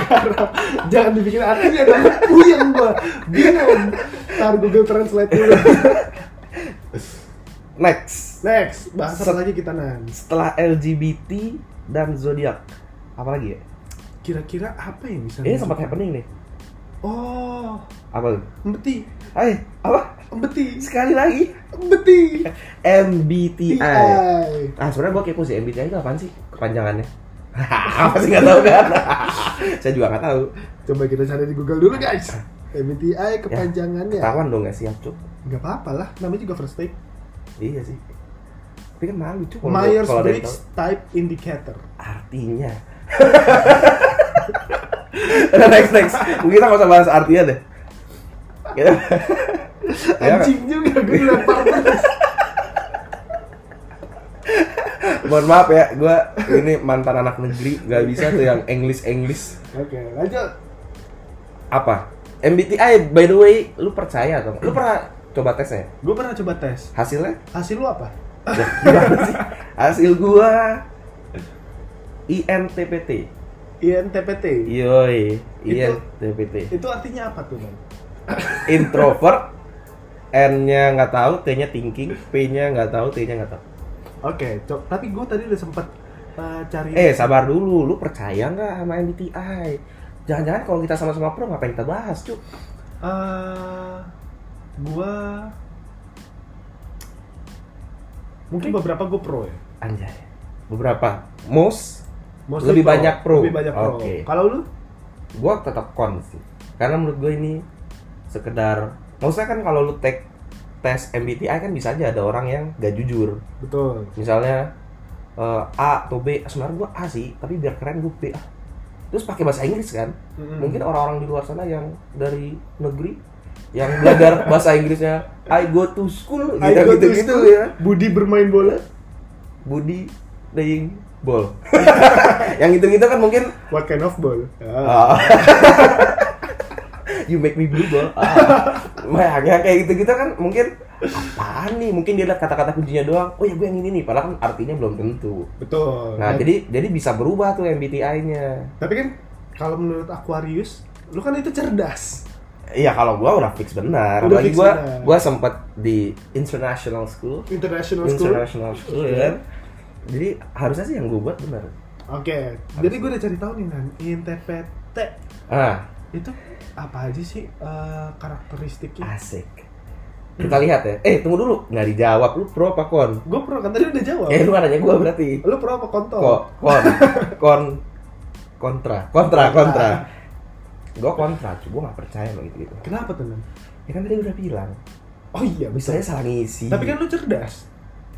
[SPEAKER 1] garam. Jangan dibikin artinya dong. Puyeng gua. Bingung. Ntar Google Translate dulu.
[SPEAKER 2] next.
[SPEAKER 1] Next, bahas
[SPEAKER 2] Set.
[SPEAKER 1] apa lagi kita nan?
[SPEAKER 2] Setelah LGBT dan zodiak, apa lagi ya?
[SPEAKER 1] Kira-kira apa yang bisa?
[SPEAKER 2] Ini
[SPEAKER 1] masuk?
[SPEAKER 2] sempat happening nih.
[SPEAKER 1] Oh,
[SPEAKER 2] Apa? tuh?
[SPEAKER 1] meti.
[SPEAKER 2] Hai, apa?
[SPEAKER 1] Beti.
[SPEAKER 2] Sekali lagi
[SPEAKER 1] Beti.
[SPEAKER 2] MBTI.
[SPEAKER 1] TI.
[SPEAKER 2] Ah sebenarnya gue kepo sih MBTI itu apaan sih kepanjangannya? apa sih nggak tahu kan? Saya juga nggak tahu.
[SPEAKER 1] Coba kita cari di Google dulu guys. MBTI kepanjangannya.
[SPEAKER 2] Ketahuan dong nggak siap cuk?
[SPEAKER 1] Gak apa-apa lah, namanya juga first take.
[SPEAKER 2] Iya sih. Tapi kan malu cuk. kalau-
[SPEAKER 1] Myers
[SPEAKER 2] kalau ada yang
[SPEAKER 1] Briggs Type Indicator.
[SPEAKER 2] artinya Udah, next next mungkin kita nggak usah bahas artinya deh kita Ya.
[SPEAKER 1] Anjing juga gue dilempar terus.
[SPEAKER 2] mohon maaf ya gue ini mantan anak negeri nggak bisa tuh yang English English
[SPEAKER 1] Oke, lanjut.
[SPEAKER 2] apa MBTI by the way lu percaya atau nggak? lu pernah coba tesnya ya?
[SPEAKER 1] Gue pernah coba tes.
[SPEAKER 2] hasilnya
[SPEAKER 1] Hasil lu apa?
[SPEAKER 2] Lah, gimana sih hasil gua INTPT
[SPEAKER 1] INTPT.
[SPEAKER 2] yoi
[SPEAKER 1] Itu-
[SPEAKER 2] INTPT
[SPEAKER 1] Itu artinya apa tuh, Bang?
[SPEAKER 2] introvert N-nya nggak tahu, T-nya thinking, P-nya nggak tahu, T-nya nggak tahu.
[SPEAKER 1] Oke, co- tapi gue tadi udah sempet uh, cari
[SPEAKER 2] Eh sabar dulu, lu percaya nggak sama MBTI? Jangan-jangan kalau kita sama-sama pro ngapain kita bahas cuk?
[SPEAKER 1] eh gue mungkin beberapa gue pro ya.
[SPEAKER 2] Anjay, beberapa most,
[SPEAKER 1] Mostly
[SPEAKER 2] Lebih banyak pro.
[SPEAKER 1] Lebih banyak pro.
[SPEAKER 2] Oke.
[SPEAKER 1] Kalau lu?
[SPEAKER 2] gua tetap kon sih. Karena menurut gue ini sekedar, maksudnya kan kalau lu take tes MBTI kan bisa aja ada orang yang gak jujur.
[SPEAKER 1] Betul.
[SPEAKER 2] Misalnya eh, A atau B, sebenarnya gua A sih, tapi biar keren gue B. Ah. Terus pakai bahasa Inggris kan?
[SPEAKER 1] Mm-mm.
[SPEAKER 2] mungkin orang-orang di luar sana yang dari negeri yang belajar bahasa Inggrisnya I go to school
[SPEAKER 1] I go
[SPEAKER 2] gitu gitu,
[SPEAKER 1] to
[SPEAKER 2] gitu
[SPEAKER 1] school,
[SPEAKER 2] ya
[SPEAKER 1] Budi bermain bola.
[SPEAKER 2] Budi playing ball yang gitu gitu kan mungkin
[SPEAKER 1] What kind of ball? Ya.
[SPEAKER 2] ah, you make me blue ball ah. Nah, ya, kayak gitu gitu kan mungkin apaan nih mungkin dia lihat kata-kata kuncinya doang oh ya gue yang ini nih padahal kan artinya belum tentu
[SPEAKER 1] Betul.
[SPEAKER 2] nah
[SPEAKER 1] Dan-
[SPEAKER 2] jadi jadi bisa berubah tuh MBTI-nya
[SPEAKER 1] Tapi kan kalau menurut Aquarius, lu kan itu cerdas.
[SPEAKER 2] Iya kalau gua udah fix benar.
[SPEAKER 1] Udah
[SPEAKER 2] Apalagi
[SPEAKER 1] fix
[SPEAKER 2] gua
[SPEAKER 1] benar.
[SPEAKER 2] gua sempat di international school,
[SPEAKER 1] International school. Oke.
[SPEAKER 2] international school ya kan. Jadi harusnya sih yang gua buat benar.
[SPEAKER 1] Jadi gue udah cari tahu nih Nan, INTPT
[SPEAKER 2] Ah,
[SPEAKER 1] itu apa aja sih eh, karakteristiknya?
[SPEAKER 2] asik. Kita lihat ya. Eh, tunggu dulu. Nggak dijawab lu pro apa kon?
[SPEAKER 1] Gue pro kan tadi udah jawab.
[SPEAKER 2] Eh, lu nggak nanya gua berarti.
[SPEAKER 1] Lu pro apa kontol?
[SPEAKER 2] Kok kon kon kontra, kontra, kontra. Gua kontra, cuy. Gua nggak percaya sama gitu-gitu.
[SPEAKER 1] Kenapa tuh Nan?
[SPEAKER 2] Ya kan tadi udah bilang,
[SPEAKER 1] Oh iya bisa.
[SPEAKER 2] misalnya salah ngisi.
[SPEAKER 1] Tapi kan lu cerdas.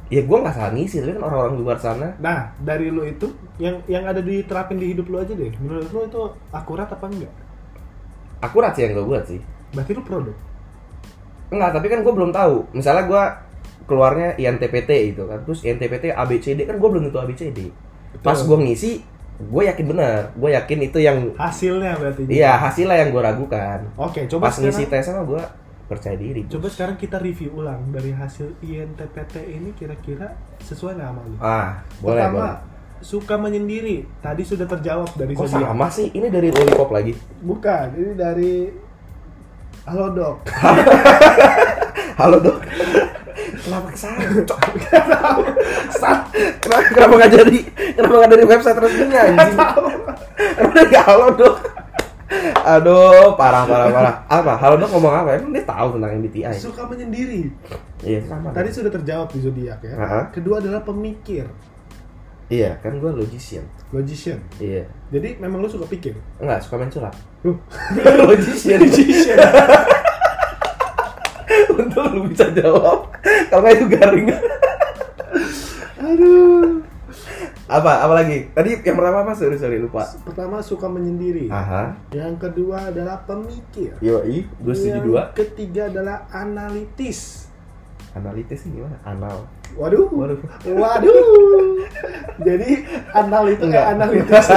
[SPEAKER 2] ya gua nggak salah ngisi, tapi kan orang-orang di luar sana
[SPEAKER 1] Nah dari lu itu yang yang ada diterapin di hidup lu aja deh. Menurut lu itu akurat apa enggak?
[SPEAKER 2] akurat sih yang gua buat sih.
[SPEAKER 1] Berarti lu pro dong.
[SPEAKER 2] Enggak, tapi kan gue belum tahu. Misalnya gue keluarnya INTPT gitu kan. Terus INTPT ABCD kan gue belum tentu ABCD. Pas gue ngisi, gue yakin bener. Gue yakin itu yang
[SPEAKER 1] hasilnya berarti.
[SPEAKER 2] iya hasilnya yang gue ragukan.
[SPEAKER 1] Oke, coba
[SPEAKER 2] Pas ngisi
[SPEAKER 1] sekarang
[SPEAKER 2] tes sama gue percaya diri.
[SPEAKER 1] coba sekarang kita review ulang dari hasil INTPT ini kira-kira sesuai nggak sama lu?
[SPEAKER 2] Ah, boleh
[SPEAKER 1] Pertama,
[SPEAKER 2] boleh.
[SPEAKER 1] suka menyendiri. Tadi sudah terjawab dari
[SPEAKER 2] Kok
[SPEAKER 1] zodiak.
[SPEAKER 2] sama sih? Ini dari Lollipop lagi.
[SPEAKER 1] Bukan, ini dari Halodoc.
[SPEAKER 2] Halo dok. kenapa kesana? Cok? Sat. Kenapa, kenapa nggak jadi? Kenapa nggak dari website resminya? Anjing? Kenapa nggak halo dok? Aduh, parah parah parah. Apa? Halo dok ngomong apa? Emang dia tahu tentang MBTI?
[SPEAKER 1] suka menyendiri.
[SPEAKER 2] Iya sama.
[SPEAKER 1] Tadi sudah terjawab di zodiak ya.
[SPEAKER 2] Heeh.
[SPEAKER 1] Kedua adalah pemikir,
[SPEAKER 2] Iya kan gue logician.
[SPEAKER 1] logician.
[SPEAKER 2] Iya.
[SPEAKER 1] Jadi memang lu suka pikir. Iya,
[SPEAKER 2] Enggak suka main curhat.
[SPEAKER 1] Huh.
[SPEAKER 2] logician. Untung lu bisa jawab. Kalau nggak itu garing.
[SPEAKER 1] Aduh.
[SPEAKER 2] apa? Apa lagi? Tadi yang pertama apa? Sorry sorry lupa.
[SPEAKER 1] Pertama suka menyendiri.
[SPEAKER 2] Aha.
[SPEAKER 1] Yang kedua adalah pemikir.
[SPEAKER 2] Yoi, gue setuju
[SPEAKER 1] Yang
[SPEAKER 2] dua.
[SPEAKER 1] ketiga adalah analitis.
[SPEAKER 2] Analitis sih gimana? Anal.
[SPEAKER 1] Waduh.
[SPEAKER 2] Waduh.
[SPEAKER 1] Waduh. Jadi anal itu kayak
[SPEAKER 2] Enggak.
[SPEAKER 1] analitis.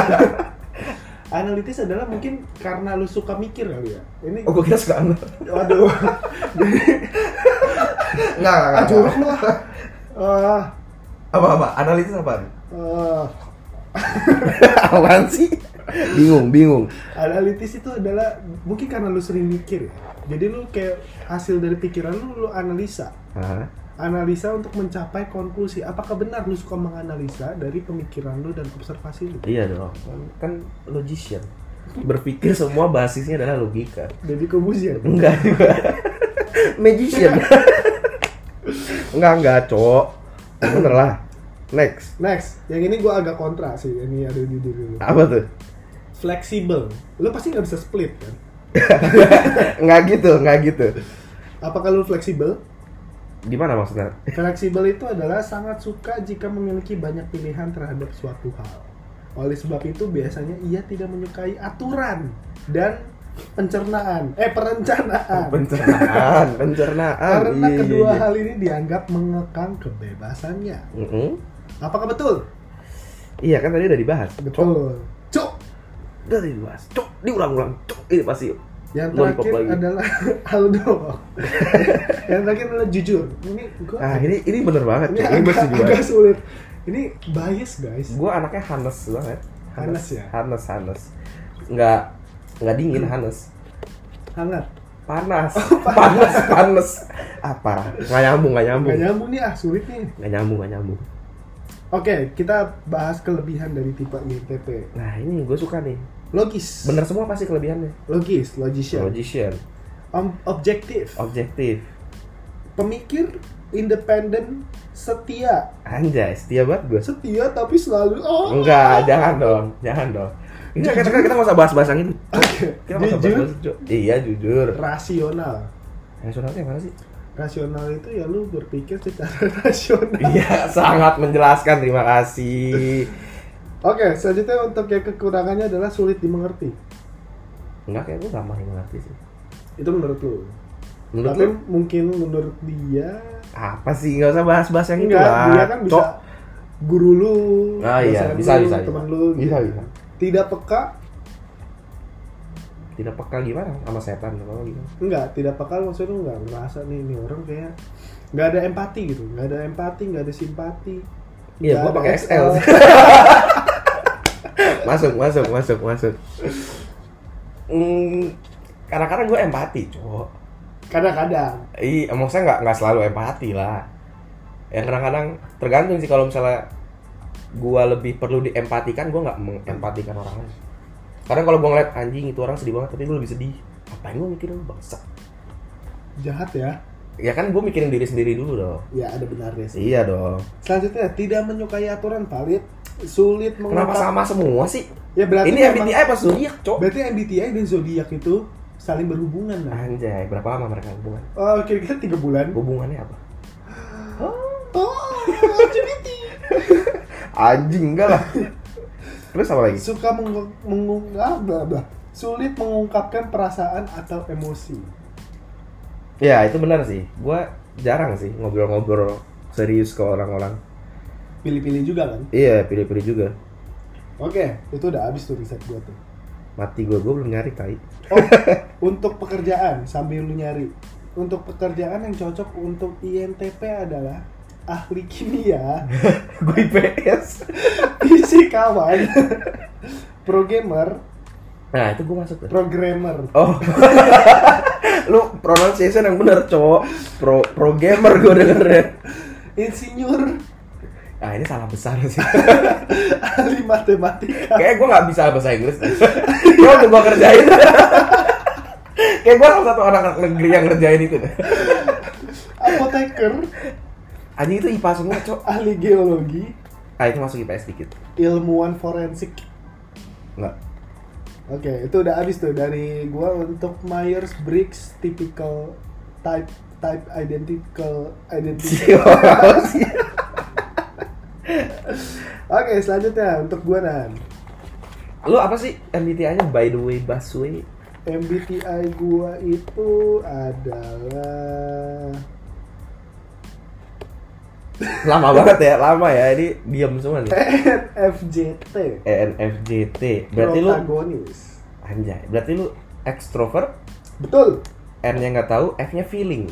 [SPEAKER 1] analitis adalah mungkin karena lu suka mikir kali ya. Ini
[SPEAKER 2] Oh, gue kira suka anal.
[SPEAKER 1] waduh.
[SPEAKER 2] Enggak,
[SPEAKER 1] Ah, jorok lu. ah. Ah,
[SPEAKER 2] Apa apa? Analitis apa?
[SPEAKER 1] ah.
[SPEAKER 2] Apaan sih? Bingung, bingung.
[SPEAKER 1] analitis itu adalah mungkin karena lu sering mikir ya. Jadi lu kayak hasil dari pikiran lu lu analisa.
[SPEAKER 2] Hah?
[SPEAKER 1] Analisa untuk mencapai konklusi. Apakah benar lu suka menganalisa dari pemikiran lu dan observasi lu?
[SPEAKER 2] Iya dong. Kan, kan logician. Berpikir semua basisnya adalah logika.
[SPEAKER 1] Jadi kebusian.
[SPEAKER 2] Enggak juga. magician enggak enggak cok bener lah next
[SPEAKER 1] Next, yang ini gue agak kontra sih, ini ada di diri lu.
[SPEAKER 2] apa tuh
[SPEAKER 1] Fleksibel, lu pasti nggak bisa split kan?
[SPEAKER 2] enggak gitu enggak gitu
[SPEAKER 1] Apakah lu fleksibel?
[SPEAKER 2] gimana maksudnya
[SPEAKER 1] Fleksibel itu adalah sangat suka jika memiliki banyak pilihan terhadap suatu hal. Oleh sebab itu biasanya ia tidak menyukai aturan dan pencernaan, eh perencanaan.
[SPEAKER 2] pencernaan pencernaan
[SPEAKER 1] Karena
[SPEAKER 2] iya, iya,
[SPEAKER 1] kedua
[SPEAKER 2] iya.
[SPEAKER 1] hal ini dianggap mengekang kebebasannya.
[SPEAKER 2] Mm-mm.
[SPEAKER 1] Apakah betul?
[SPEAKER 2] iya kan tadi udah dibahas cok
[SPEAKER 1] Betul. Cuk.
[SPEAKER 2] udah dibahas cok diulang-ulang cok ini pasti
[SPEAKER 1] Yang
[SPEAKER 2] Lollipop
[SPEAKER 1] terakhir
[SPEAKER 2] lagi.
[SPEAKER 1] adalah Aldo. yang terakhir adalah jujur. Ini gua
[SPEAKER 2] ah ini ini bener banget
[SPEAKER 1] ini
[SPEAKER 2] cok ini
[SPEAKER 1] agak,
[SPEAKER 2] pasti
[SPEAKER 1] agak sulit. Ini bias guys.
[SPEAKER 2] gue anaknya Hanes banget
[SPEAKER 1] Hanes ya?
[SPEAKER 2] Hanes Hanes nggak nggak dingin Hanes
[SPEAKER 1] Hangat.
[SPEAKER 2] Oh, panas panas panas apa nggak nyambung nggak nyambung
[SPEAKER 1] Gak nyambung nih ah sulit nih.
[SPEAKER 2] nggak nyambung nggak nyambung
[SPEAKER 1] Oke, kita bahas kelebihan dari tipe INTP.
[SPEAKER 2] nah ini gue suka nih
[SPEAKER 1] Logis.
[SPEAKER 2] bener semua pasti kelebihannya
[SPEAKER 1] Logis, logician.
[SPEAKER 2] logician
[SPEAKER 1] Om- objektif.
[SPEAKER 2] objektif
[SPEAKER 1] Pemikir, independen, setia.
[SPEAKER 2] anjay setia banget gue
[SPEAKER 1] Setia tapi selalu oh.
[SPEAKER 2] enggak jangan dong jangan dong Enggak, kita, kita, kita nggak usah bahas-bahas yang itu
[SPEAKER 1] Oke.
[SPEAKER 2] Kita nggak usah
[SPEAKER 1] Jujur,
[SPEAKER 2] bahas-bahas itu, Cok. Iya, jujur
[SPEAKER 1] rasional.
[SPEAKER 2] Nasionalnya mana sih?
[SPEAKER 1] Rasional itu ya lu berpikir secara rasional.
[SPEAKER 2] Iya, sangat menjelaskan, terima kasih
[SPEAKER 1] Oke, selanjutnya untuk yang kekurangannya adalah sulit dimengerti.
[SPEAKER 2] Enggak, kayak gue gampang ngerti sih
[SPEAKER 1] Itu menurut lu.
[SPEAKER 2] Menurut
[SPEAKER 1] Tapi
[SPEAKER 2] lu
[SPEAKER 1] mungkin menurut dia
[SPEAKER 2] apa sih nggak usah bahas-bahas yang itu
[SPEAKER 1] enggak,
[SPEAKER 2] lah
[SPEAKER 1] dia kan bisa
[SPEAKER 2] Cok.
[SPEAKER 1] guru lu,
[SPEAKER 2] Ah, iya,
[SPEAKER 1] dosen
[SPEAKER 2] bisa,
[SPEAKER 1] lu,
[SPEAKER 2] bisa,
[SPEAKER 1] teman
[SPEAKER 2] bisa.
[SPEAKER 1] lu.
[SPEAKER 2] Bisa,
[SPEAKER 1] gitu.
[SPEAKER 2] bisa.
[SPEAKER 1] Tidak peka,
[SPEAKER 2] tidak peka gimana sama setan atau gimana
[SPEAKER 1] enggak, tidak peka maksudnya lu enggak merasa nih ini orang kayak enggak ada empati gitu, enggak ada empati, enggak ada simpati. Nggak
[SPEAKER 2] iya gua
[SPEAKER 1] ada
[SPEAKER 2] pakai XL masuk masuk masuk masuk hmm, kadang-kadang gue empati cowok
[SPEAKER 1] Kadang-kadang.
[SPEAKER 2] Iya, maksudnya nggak nggak selalu empati lah. Ya kadang-kadang tergantung sih kalau misalnya gua lebih perlu diempatikan, gua nggak mengempatikan orang lain. Kadang kalau gua ngeliat anjing itu orang sedih banget, tapi gua lebih sedih. Apa yang gua mikirin lu bangsa?
[SPEAKER 1] Jahat ya.
[SPEAKER 2] Ya kan gua mikirin diri sendiri dulu dong.
[SPEAKER 1] Ya ada benarnya sih.
[SPEAKER 2] Iya dong.
[SPEAKER 1] Selanjutnya tidak menyukai aturan valid, sulit mengungkap.
[SPEAKER 2] Kenapa sama semua sih?
[SPEAKER 1] Ya berarti
[SPEAKER 2] Ini
[SPEAKER 1] memang-
[SPEAKER 2] MBTI apa zodiak, Cok?
[SPEAKER 1] Berarti MBTI dan zodiak itu saling berhubungan lah.
[SPEAKER 2] Anjay, berapa lama mereka hubungan?
[SPEAKER 1] Oh, kira-kira tiga bulan.
[SPEAKER 2] Hubungannya apa?
[SPEAKER 1] Oh, LGBT.
[SPEAKER 2] Anjing enggak lah. Terus apa lagi?
[SPEAKER 1] Suka mengungkap, bla bla. Sulit mengungkapkan perasaan atau emosi.
[SPEAKER 2] Ya itu benar sih. Gua jarang sih ngobrol-ngobrol serius ke orang-orang.
[SPEAKER 1] Pilih-pilih juga kan?
[SPEAKER 2] Iya, pilih-pilih juga.
[SPEAKER 1] Oke, itu udah habis tuh riset gua tuh.
[SPEAKER 2] Mati gue, gue belum nyari tai.
[SPEAKER 1] Oh, untuk pekerjaan sambil lu nyari. Untuk pekerjaan yang cocok untuk INTP adalah ahli kimia,
[SPEAKER 2] gue IPS.
[SPEAKER 1] fisikawan, programmer,
[SPEAKER 2] Nah, itu gue masuk tuh.
[SPEAKER 1] programmer.
[SPEAKER 2] Oh. Lu pronunciation yang bener, cowok. Pro pro gamer gue dengernya.
[SPEAKER 1] insinyur
[SPEAKER 2] Nah, ini salah besar sih.
[SPEAKER 1] ahli matematika
[SPEAKER 2] Kayaknya gue gak bisa bahasa Inggris. Gue udah gue kerjain. Kayak gue salah satu orang negeri yang ngerjain itu. deh.
[SPEAKER 1] apoteker
[SPEAKER 2] Anjing itu IPA semua, cok.
[SPEAKER 1] ahli geologi
[SPEAKER 2] Ah, itu masuk IPS dikit.
[SPEAKER 1] ilmuwan forensik
[SPEAKER 2] Enggak.
[SPEAKER 1] oke itu udah habis tuh dari gua untuk Myers Briggs typical type type identical identity oke selanjutnya untuk gua nan
[SPEAKER 2] Lu apa sih MBTI-nya by the way, busway?
[SPEAKER 1] MBTI gua itu adalah
[SPEAKER 2] Lama banget ya, lama ya. Ini diam semua nih. E
[SPEAKER 1] NFJT
[SPEAKER 2] ENFJT. Berarti lu
[SPEAKER 1] protagonis
[SPEAKER 2] anjay. Berarti lu ekstrovert,
[SPEAKER 1] betul
[SPEAKER 2] R-nya nggak tahu, F-nya feeling.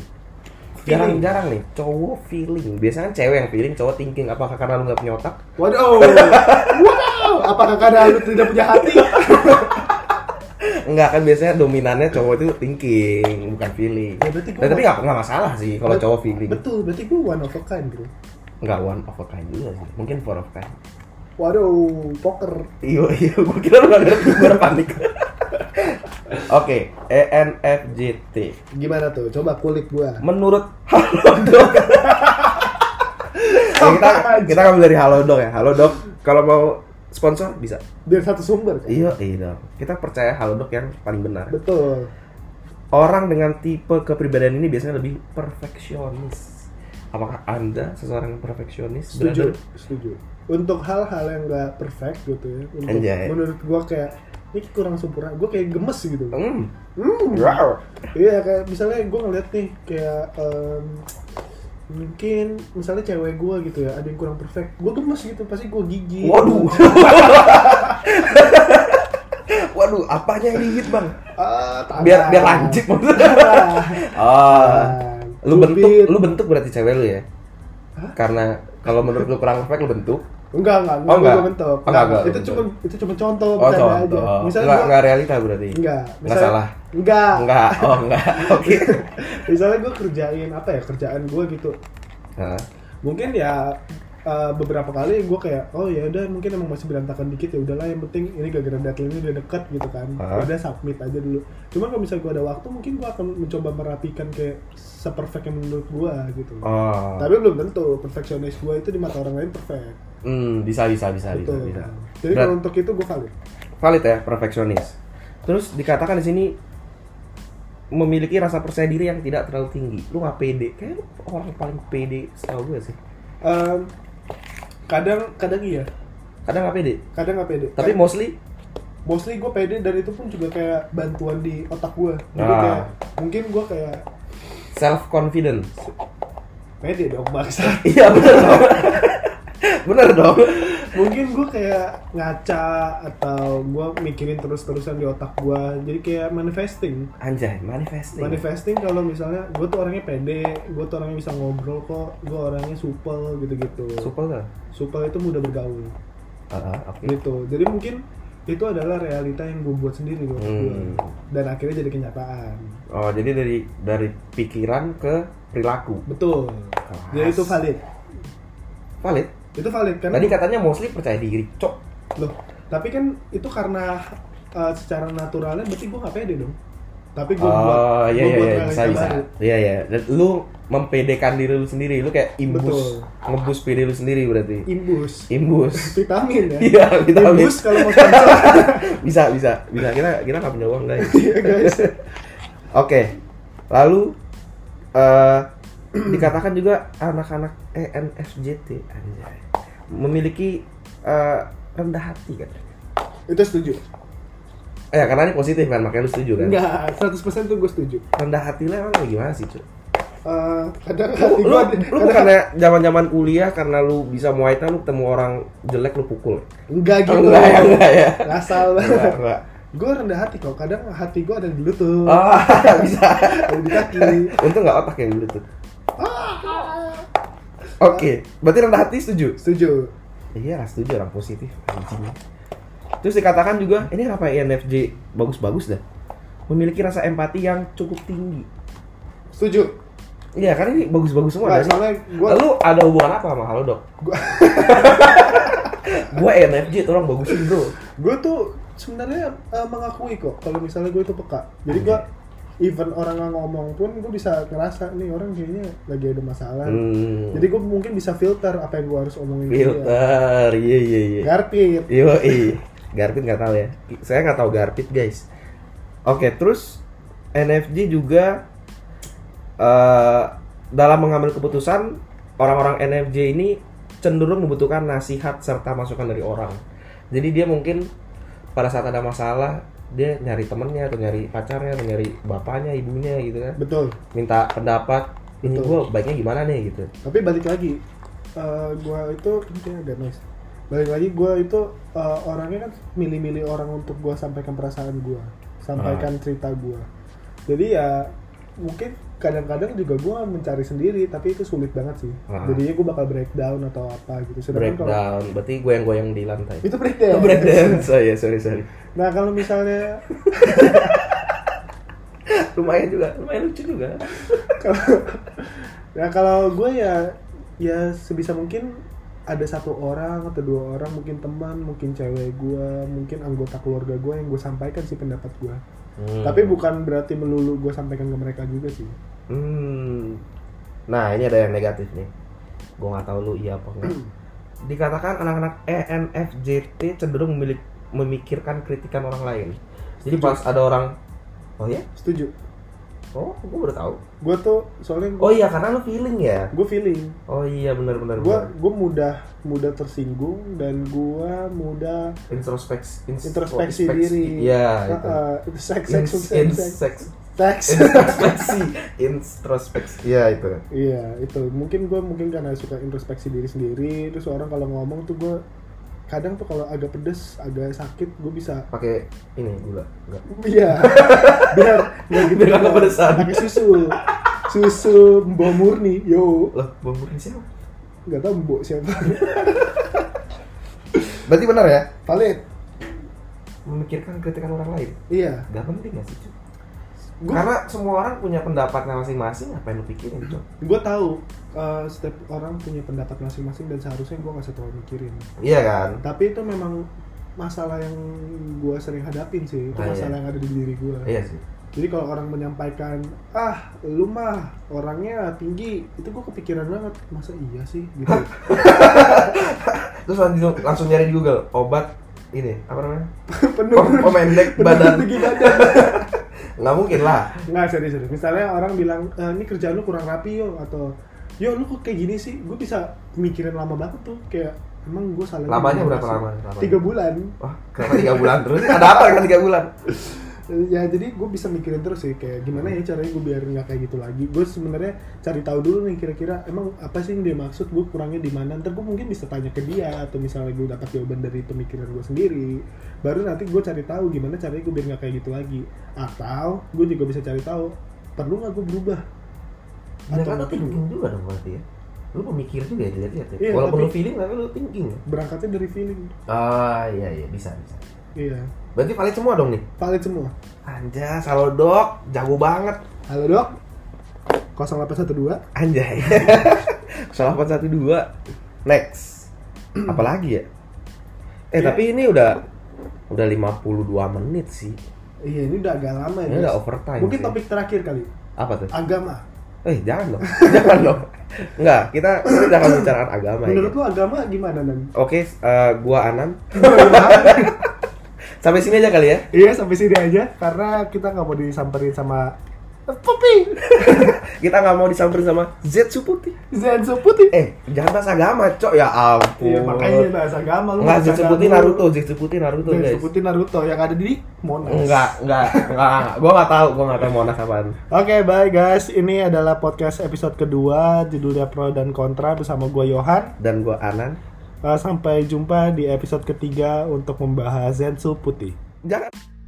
[SPEAKER 1] Feeling.
[SPEAKER 2] Jarang-jarang nih cowok feeling. Biasanya kan cewek yang feeling, cowok thinking. Apakah karena lu nggak punya otak?
[SPEAKER 1] Waduh. Wow. Apakah karena lu tidak punya hati?
[SPEAKER 2] Enggak kan biasanya dominannya cowok itu thinking, bukan feeling.
[SPEAKER 1] Ya, berarti gua-
[SPEAKER 2] Nah, tapi nggak nggak masalah sih kalau
[SPEAKER 1] Bet-
[SPEAKER 2] cowok feeling.
[SPEAKER 1] Betul, berarti gue one of a kind, bro.
[SPEAKER 2] Nggak one of a kind juga sih. Mungkin four of a kind.
[SPEAKER 1] Waduh, poker.
[SPEAKER 2] Iya iya, gue kira lu nggak ngerti, gue udah panik. Oke, ENFJT.
[SPEAKER 1] Gimana tuh? Coba kulik gua.
[SPEAKER 2] Menurut Halodoc. ya, kita kita ambil dari Halodoc ya. Halodoc kalau mau sponsor bisa.
[SPEAKER 1] Dari satu sumber. kan?
[SPEAKER 2] Iya, iya. dong. Kita percaya Halodoc yang paling benar.
[SPEAKER 1] Betul.
[SPEAKER 2] Orang dengan tipe kepribadian ini biasanya lebih perfeksionis. Apakah Anda seseorang yang perfeksionis?
[SPEAKER 1] Setuju.
[SPEAKER 2] Berada-
[SPEAKER 1] Setuju. Untuk hal-hal yang gak perfect gitu ya. Untuk,
[SPEAKER 2] Anjay.
[SPEAKER 1] menurut gua kayak ini kurang sempurna. Gua kayak gemes gitu.
[SPEAKER 2] Hmm.
[SPEAKER 1] Hmm.
[SPEAKER 2] Wow.
[SPEAKER 1] Iya kayak misalnya gue ngeliat nih kayak em, mungkin misalnya cewek gue gitu ya ada yang kurang perfect gue gemes gitu pasti gue gigi
[SPEAKER 2] Waduh. Waduh, apanya yang digigit, Bang?
[SPEAKER 1] ah, tangan.
[SPEAKER 2] Biar biar lancip maksudnya.
[SPEAKER 1] Tangan.
[SPEAKER 2] Oh.
[SPEAKER 1] Ah,
[SPEAKER 2] Lu
[SPEAKER 1] Cupit.
[SPEAKER 2] bentuk, lu bentuk berarti cewek lu ya?
[SPEAKER 1] Hah?
[SPEAKER 2] Karena kalau menurut lu kurang perfect lu bentuk.
[SPEAKER 1] enggak enggak
[SPEAKER 2] Oh, enggak.
[SPEAKER 1] gua bentuk
[SPEAKER 2] Oh, enggak, enggak,
[SPEAKER 1] itu
[SPEAKER 2] bentuk.
[SPEAKER 1] cuma itu cuma contoh
[SPEAKER 2] Oh,
[SPEAKER 1] bercanda
[SPEAKER 2] contoh.
[SPEAKER 1] misalnya
[SPEAKER 2] Enggak
[SPEAKER 1] gua-
[SPEAKER 2] enggak realita berarti.
[SPEAKER 1] enggak
[SPEAKER 2] Enggak
[SPEAKER 1] misalnya-
[SPEAKER 2] salah.
[SPEAKER 1] enggak
[SPEAKER 2] Enggak. Oh, enggak. Oke.
[SPEAKER 1] Iya. misalnya gue kerjain apa ya kerjaan gue gitu
[SPEAKER 2] Hah?
[SPEAKER 1] mungkin ya uh, beberapa kali gue kayak oh ya udah mungkin emang masih berantakan dikit ya udahlah yang penting ini gara-gara deadline ini udah deket gitu kan
[SPEAKER 2] Ah.
[SPEAKER 1] udah submit aja dulu cuman kalau misalnya gue ada waktu mungkin gue akan mencoba merapikan kayak seperfect yang menurut gue gitu
[SPEAKER 2] Oh.
[SPEAKER 1] tapi belum tentu perfeksionis gue itu di mata orang lain perfect
[SPEAKER 2] Hmm, bisa bisa bisa bisa
[SPEAKER 1] gitu
[SPEAKER 2] bisa.
[SPEAKER 1] jadi
[SPEAKER 2] Berat-
[SPEAKER 1] kalau untuk itu gue valid
[SPEAKER 2] valid ya perfeksionis. Terus dikatakan di sini memiliki rasa percaya diri yang tidak terlalu tinggi. Lu nggak pede? Kayak lu orang paling pede setahu gue sih.
[SPEAKER 1] Em, kadang kadang iya
[SPEAKER 2] Kadang nggak pede.
[SPEAKER 1] kadang ya, nggak pede
[SPEAKER 2] Tapi
[SPEAKER 1] Kayak-
[SPEAKER 2] mostly
[SPEAKER 1] mostly gue pede dan itu pun juga kayak bantuan di otak gue jadi
[SPEAKER 2] Ah.
[SPEAKER 1] kayak mungkin gue kayak
[SPEAKER 2] self confident.
[SPEAKER 1] pede dong bangsa
[SPEAKER 2] Iya bener dong. bener dong.
[SPEAKER 1] mungkin gue kayak ngaca atau gue mikirin terus-terusan di otak gue jadi kayak manifesting
[SPEAKER 2] Anjay, manifesting.
[SPEAKER 1] manifesting kalau misalnya gue tuh orangnya pede gue tuh orangnya bisa ngobrol kok gue orangnya supel gitu-gitu
[SPEAKER 2] Supel nggak?
[SPEAKER 1] supel itu mudah bergaul
[SPEAKER 2] Ah, ah, oke.
[SPEAKER 1] gitu jadi mungkin itu adalah realita yang gue buat sendiri di otak gua.
[SPEAKER 2] Hmm.
[SPEAKER 1] dan akhirnya jadi kenyataan
[SPEAKER 2] Oh, jadi dari dari pikiran ke perilaku.
[SPEAKER 1] betul jadi itu valid
[SPEAKER 2] Valid.
[SPEAKER 1] itu valid karena
[SPEAKER 2] Tadi katanya mostly percaya diri. Cok.
[SPEAKER 1] Loh, tapi kan itu karena uh, secara naturalnya berarti gue gak pede dong. Tapi gue buat,
[SPEAKER 2] Oh iya
[SPEAKER 1] gua
[SPEAKER 2] iya
[SPEAKER 1] buat
[SPEAKER 2] iya
[SPEAKER 1] realita
[SPEAKER 2] bisa bisa.
[SPEAKER 1] baru.
[SPEAKER 2] Iya iya. Dan lu mempedekan diri lu sendiri, lu kayak
[SPEAKER 1] Betul.
[SPEAKER 2] imbus, ngebus pede lu sendiri berarti.
[SPEAKER 1] Imbus.
[SPEAKER 2] Imbus.
[SPEAKER 1] Vitamin ya.
[SPEAKER 2] Iya, vitamin.
[SPEAKER 1] Imbus kalau mau sponsor.
[SPEAKER 2] bisa bisa bisa. Kita kita nggak punya uang guys.
[SPEAKER 1] Iya, guys.
[SPEAKER 2] Oke. Lalu eh dikatakan juga anak-anak E ENFJT anjay. Memiliki eh, rendah hati kan.
[SPEAKER 1] Itu setuju.
[SPEAKER 2] Eh karena ini positif kan, makanya lu setuju kan.
[SPEAKER 1] Enggak, 100% tuh gue setuju.
[SPEAKER 2] Rendah hati lah emang gimana sih, Cuk?
[SPEAKER 1] Eh, kadang
[SPEAKER 2] lu,
[SPEAKER 1] hati
[SPEAKER 2] lu, ya?
[SPEAKER 1] gue
[SPEAKER 2] lu bukannya zaman-zaman kuliah karena lu bisa muay thai lu ketemu orang jelek lu pukul.
[SPEAKER 1] enggak gitu.
[SPEAKER 2] Enggak ya, enggak ya.
[SPEAKER 1] Asal
[SPEAKER 2] Enggak, enggak.
[SPEAKER 1] Gue rendah hati kok. Kadang hati gue ada di lutut,
[SPEAKER 2] Ah, bisa.
[SPEAKER 1] ada di kaki.
[SPEAKER 2] Untung enggak otak yang dulu tuh. Ah. Oke, berarti rendah hati setuju?
[SPEAKER 1] Setuju.
[SPEAKER 2] Iya, lah, setuju orang positif. Anjing. Terus dikatakan juga, ini kenapa E INFJ bagus-bagus dah? Memiliki rasa empati yang cukup tinggi.
[SPEAKER 1] Setuju.
[SPEAKER 2] Iya, karena ini bagus-bagus semua.
[SPEAKER 1] Enggak,
[SPEAKER 2] Nah,
[SPEAKER 1] soalnya gue
[SPEAKER 2] Lu ada hubungan apa sama Halo Dok?
[SPEAKER 1] Gua-
[SPEAKER 2] gua E INFJ, tolong bagusin bro.
[SPEAKER 1] gue tuh sebenarnya eh, mengakui kok kalau misalnya gue itu peka jadi gue even orang nggak ngomong pun gue bisa ngerasa nih orang kayaknya lagi ada masalah
[SPEAKER 2] Hmm.
[SPEAKER 1] jadi gue mungkin bisa filter apa yang gue harus omongin ke dia.
[SPEAKER 2] Filter, iya iya iya.
[SPEAKER 1] garpit
[SPEAKER 2] Yo Garpit nggak tahu ya. Saya nggak tahu Garpit guys. Oke, terus NFJ juga eh dalam mengambil keputusan orang-orang NFJ ini cenderung membutuhkan nasihat serta masukan dari orang. Jadi dia mungkin pada saat ada masalah dia nyari temennya atau nyari pacarnya atau nyari bapaknya ibunya gitu kan
[SPEAKER 1] betul
[SPEAKER 2] minta pendapat ini
[SPEAKER 1] Betul.
[SPEAKER 2] gue baiknya gimana nih gitu
[SPEAKER 1] tapi balik lagi eh, gue itu mungkin ada noise balik lagi gue itu eh, orangnya kan milih-milih orang untuk gue sampaikan perasaan gue sampaikan
[SPEAKER 2] Ah.
[SPEAKER 1] cerita gue jadi ya mungkin kadang-kadang juga gue mencari sendiri tapi itu sulit banget sih
[SPEAKER 2] Ah.
[SPEAKER 1] jadinya gue bakal breakdown atau apa gitu sedangkan kalau Iya.
[SPEAKER 2] breakdown berarti goyang-goyang di lantai
[SPEAKER 1] itu breakdown,
[SPEAKER 2] breakdown oh ya sorry sorry
[SPEAKER 1] nah kalau misalnya
[SPEAKER 2] lumayan juga lumayan lucu juga
[SPEAKER 1] kalau nah kalau gue ya ya sebisa mungkin ada satu orang atau dua orang mungkin teman mungkin cewek gue mungkin anggota keluarga gue yang gue sampaikan sih pendapat gue
[SPEAKER 2] Hmm.
[SPEAKER 1] Tapi bukan berarti melulu gue sampaikan ke mereka juga sih.
[SPEAKER 2] Hmm. Nah, ini ada yang negatif nih. Gue nggak tahu lu iya apa enggak. Dikatakan anak-anak E ENFJT cenderung memilik- memikirkan kritikan orang lain. Jadi pas ada orang, oh ya,
[SPEAKER 1] Setuju.
[SPEAKER 2] oh gue baru tahu.
[SPEAKER 1] Gue tuh soalnya
[SPEAKER 2] Oh iya karena lu feeling ya.
[SPEAKER 1] gue feeling.
[SPEAKER 2] Oh iya benar-benar.
[SPEAKER 1] Gue
[SPEAKER 2] benar.
[SPEAKER 1] gue mudah mudah tersinggung dan gue mudah
[SPEAKER 2] introspeks ins-
[SPEAKER 1] Introspeksi
[SPEAKER 2] introspeks-
[SPEAKER 1] diri. uh,
[SPEAKER 2] Iya. itu.
[SPEAKER 1] uh, seks seks
[SPEAKER 2] Ins-
[SPEAKER 1] seks
[SPEAKER 2] ins-
[SPEAKER 1] seks
[SPEAKER 2] seks-
[SPEAKER 1] seks.
[SPEAKER 2] introspeksi introspeksi. Iya itu.
[SPEAKER 1] Iya itu mungkin gue mungkin karena suka introspeksi diri sendiri terus orang kalau ngomong tuh gue kadang tuh kalau agak pedes agak sakit gue bisa
[SPEAKER 2] Pakai ini gula. Enggak.
[SPEAKER 1] Iya. Biar nggak gitu.
[SPEAKER 2] Biar nggak kepedesan.
[SPEAKER 1] Pakai susu. Susu Mbok Murni. Yo,
[SPEAKER 2] Loh, bang Burin siapa?
[SPEAKER 1] nggak tahu Mbok siapa.
[SPEAKER 2] Berarti benar ya?
[SPEAKER 1] Valid.
[SPEAKER 2] Memikirkan kritikan orang lain.
[SPEAKER 1] Iya.
[SPEAKER 2] Gak penting gak sih, Cuk?
[SPEAKER 1] Gua-
[SPEAKER 2] Karena semua orang punya pendapatnya masing-masing, ngapain lu pikirin, Cuk?
[SPEAKER 1] Gue tahu eh, setiap orang punya pendapat masing-masing dan seharusnya gue nggak usah terlalu mikirin.
[SPEAKER 2] Iya kan?
[SPEAKER 1] Tapi itu memang masalah yang gue sering hadapin sih. Itu
[SPEAKER 2] Ah, iya.
[SPEAKER 1] masalah yang ada di diri gue.
[SPEAKER 2] Iya sih.
[SPEAKER 1] Jadi kalau orang menyampaikan, ah lu mah orangnya tinggi, itu gue kepikiran banget. Masa iya sih? Gitu.
[SPEAKER 2] Terus langsung, langsung nyari di Google obat ini, apa namanya?
[SPEAKER 1] Penurun.
[SPEAKER 2] Pemendek
[SPEAKER 1] penurun
[SPEAKER 2] badan.
[SPEAKER 1] tinggi badan.
[SPEAKER 2] Nggak mungkin lah.
[SPEAKER 1] Nggak serius, serius. Misalnya orang bilang, "Eh, ini kerjaan lu kurang rapi yo atau yo lu kok kayak gini sih? Gue bisa mikirin lama banget tuh kayak emang gue salah.
[SPEAKER 2] Lamanya berapa lama? Lamanya?
[SPEAKER 1] Tiga bulan.
[SPEAKER 2] Wah, kenapa tiga bulan terus? Ada apa dengan tiga bulan?
[SPEAKER 1] Eh, Ya jadi gue bisa mikirin terus sih kayak gimana ya caranya gue biar nggak kayak gitu lagi. Gue sebenarnya cari tahu dulu nih kira-kira emang apa sih yang dia maksud gue kurangnya di mana. Ntar gue mungkin bisa tanya ke dia atau misalnya gue dapat jawaban dari pemikiran gue sendiri. Baru nanti gue cari tahu gimana caranya gue biar nggak kayak gitu lagi. Atau gue juga bisa cari tahu perlu nggak gue berubah
[SPEAKER 2] Ya
[SPEAKER 1] Atau
[SPEAKER 2] kan lu thinking juga dong berarti ya. Lu pemikir juga ya, dilihat-lihat ya.
[SPEAKER 1] Iya,
[SPEAKER 2] Walaupun
[SPEAKER 1] tapi-
[SPEAKER 2] lu feeling, tapi lu thinking ya.
[SPEAKER 1] berangkatnya dari feeling.
[SPEAKER 2] Ah, iya iya, bisa bisa.
[SPEAKER 1] Iya,
[SPEAKER 2] Berarti valid semua dong nih.
[SPEAKER 1] valid semua.
[SPEAKER 2] Anjas, halo dok, jago banget.
[SPEAKER 1] Halo dok, 0812.
[SPEAKER 2] Anjay. Salah 412. Next. Apalagi ya? Eh,
[SPEAKER 1] Iya.
[SPEAKER 2] tapi ini udah udah 52 menit sih.
[SPEAKER 1] Iya ini udah agak lama
[SPEAKER 2] Ini
[SPEAKER 1] guys.
[SPEAKER 2] udah overtime.
[SPEAKER 1] Mungkin
[SPEAKER 2] sih.
[SPEAKER 1] topik terakhir kali,
[SPEAKER 2] apa tuh?
[SPEAKER 1] agama.
[SPEAKER 2] Eh, jangan dong. jangan dong. Enggak, kita kita jangan bicara agama ya.
[SPEAKER 1] Menurut lu agama gimana Nan?
[SPEAKER 2] Oke, eh, gua Anan. Sampai sini aja kali ya.
[SPEAKER 1] Iya sampai sini aja karena kita nggak mau disamperin sama Popi,
[SPEAKER 2] Kita nggak mau disamperin sama Zetsu Putih.
[SPEAKER 1] Zenzo Putih.
[SPEAKER 2] Eh, jangan bahas agama, cok. Ya ampun.
[SPEAKER 1] Iya makanya bahas agama lu.
[SPEAKER 2] Enggak,
[SPEAKER 1] bahas
[SPEAKER 2] Zetsu
[SPEAKER 1] agama
[SPEAKER 2] Putih
[SPEAKER 1] lu.
[SPEAKER 2] Naruto, Zetsu Putih Naruto,
[SPEAKER 1] Zetsu
[SPEAKER 2] guys.
[SPEAKER 1] Putih Naruto yang ada di Monas.
[SPEAKER 2] Enggak, enggak, enggak. Gua enggak tahu, gua enggak tahu Monas apaan.
[SPEAKER 1] Oke, bye guys. Ini adalah podcast episode kedua judulnya Pro dan Kontra bersama gua Yohan.
[SPEAKER 2] Dan gua Anan.
[SPEAKER 1] Eh, sampai jumpa di episode ketiga untuk membahas Zensu Putih.
[SPEAKER 2] Jangan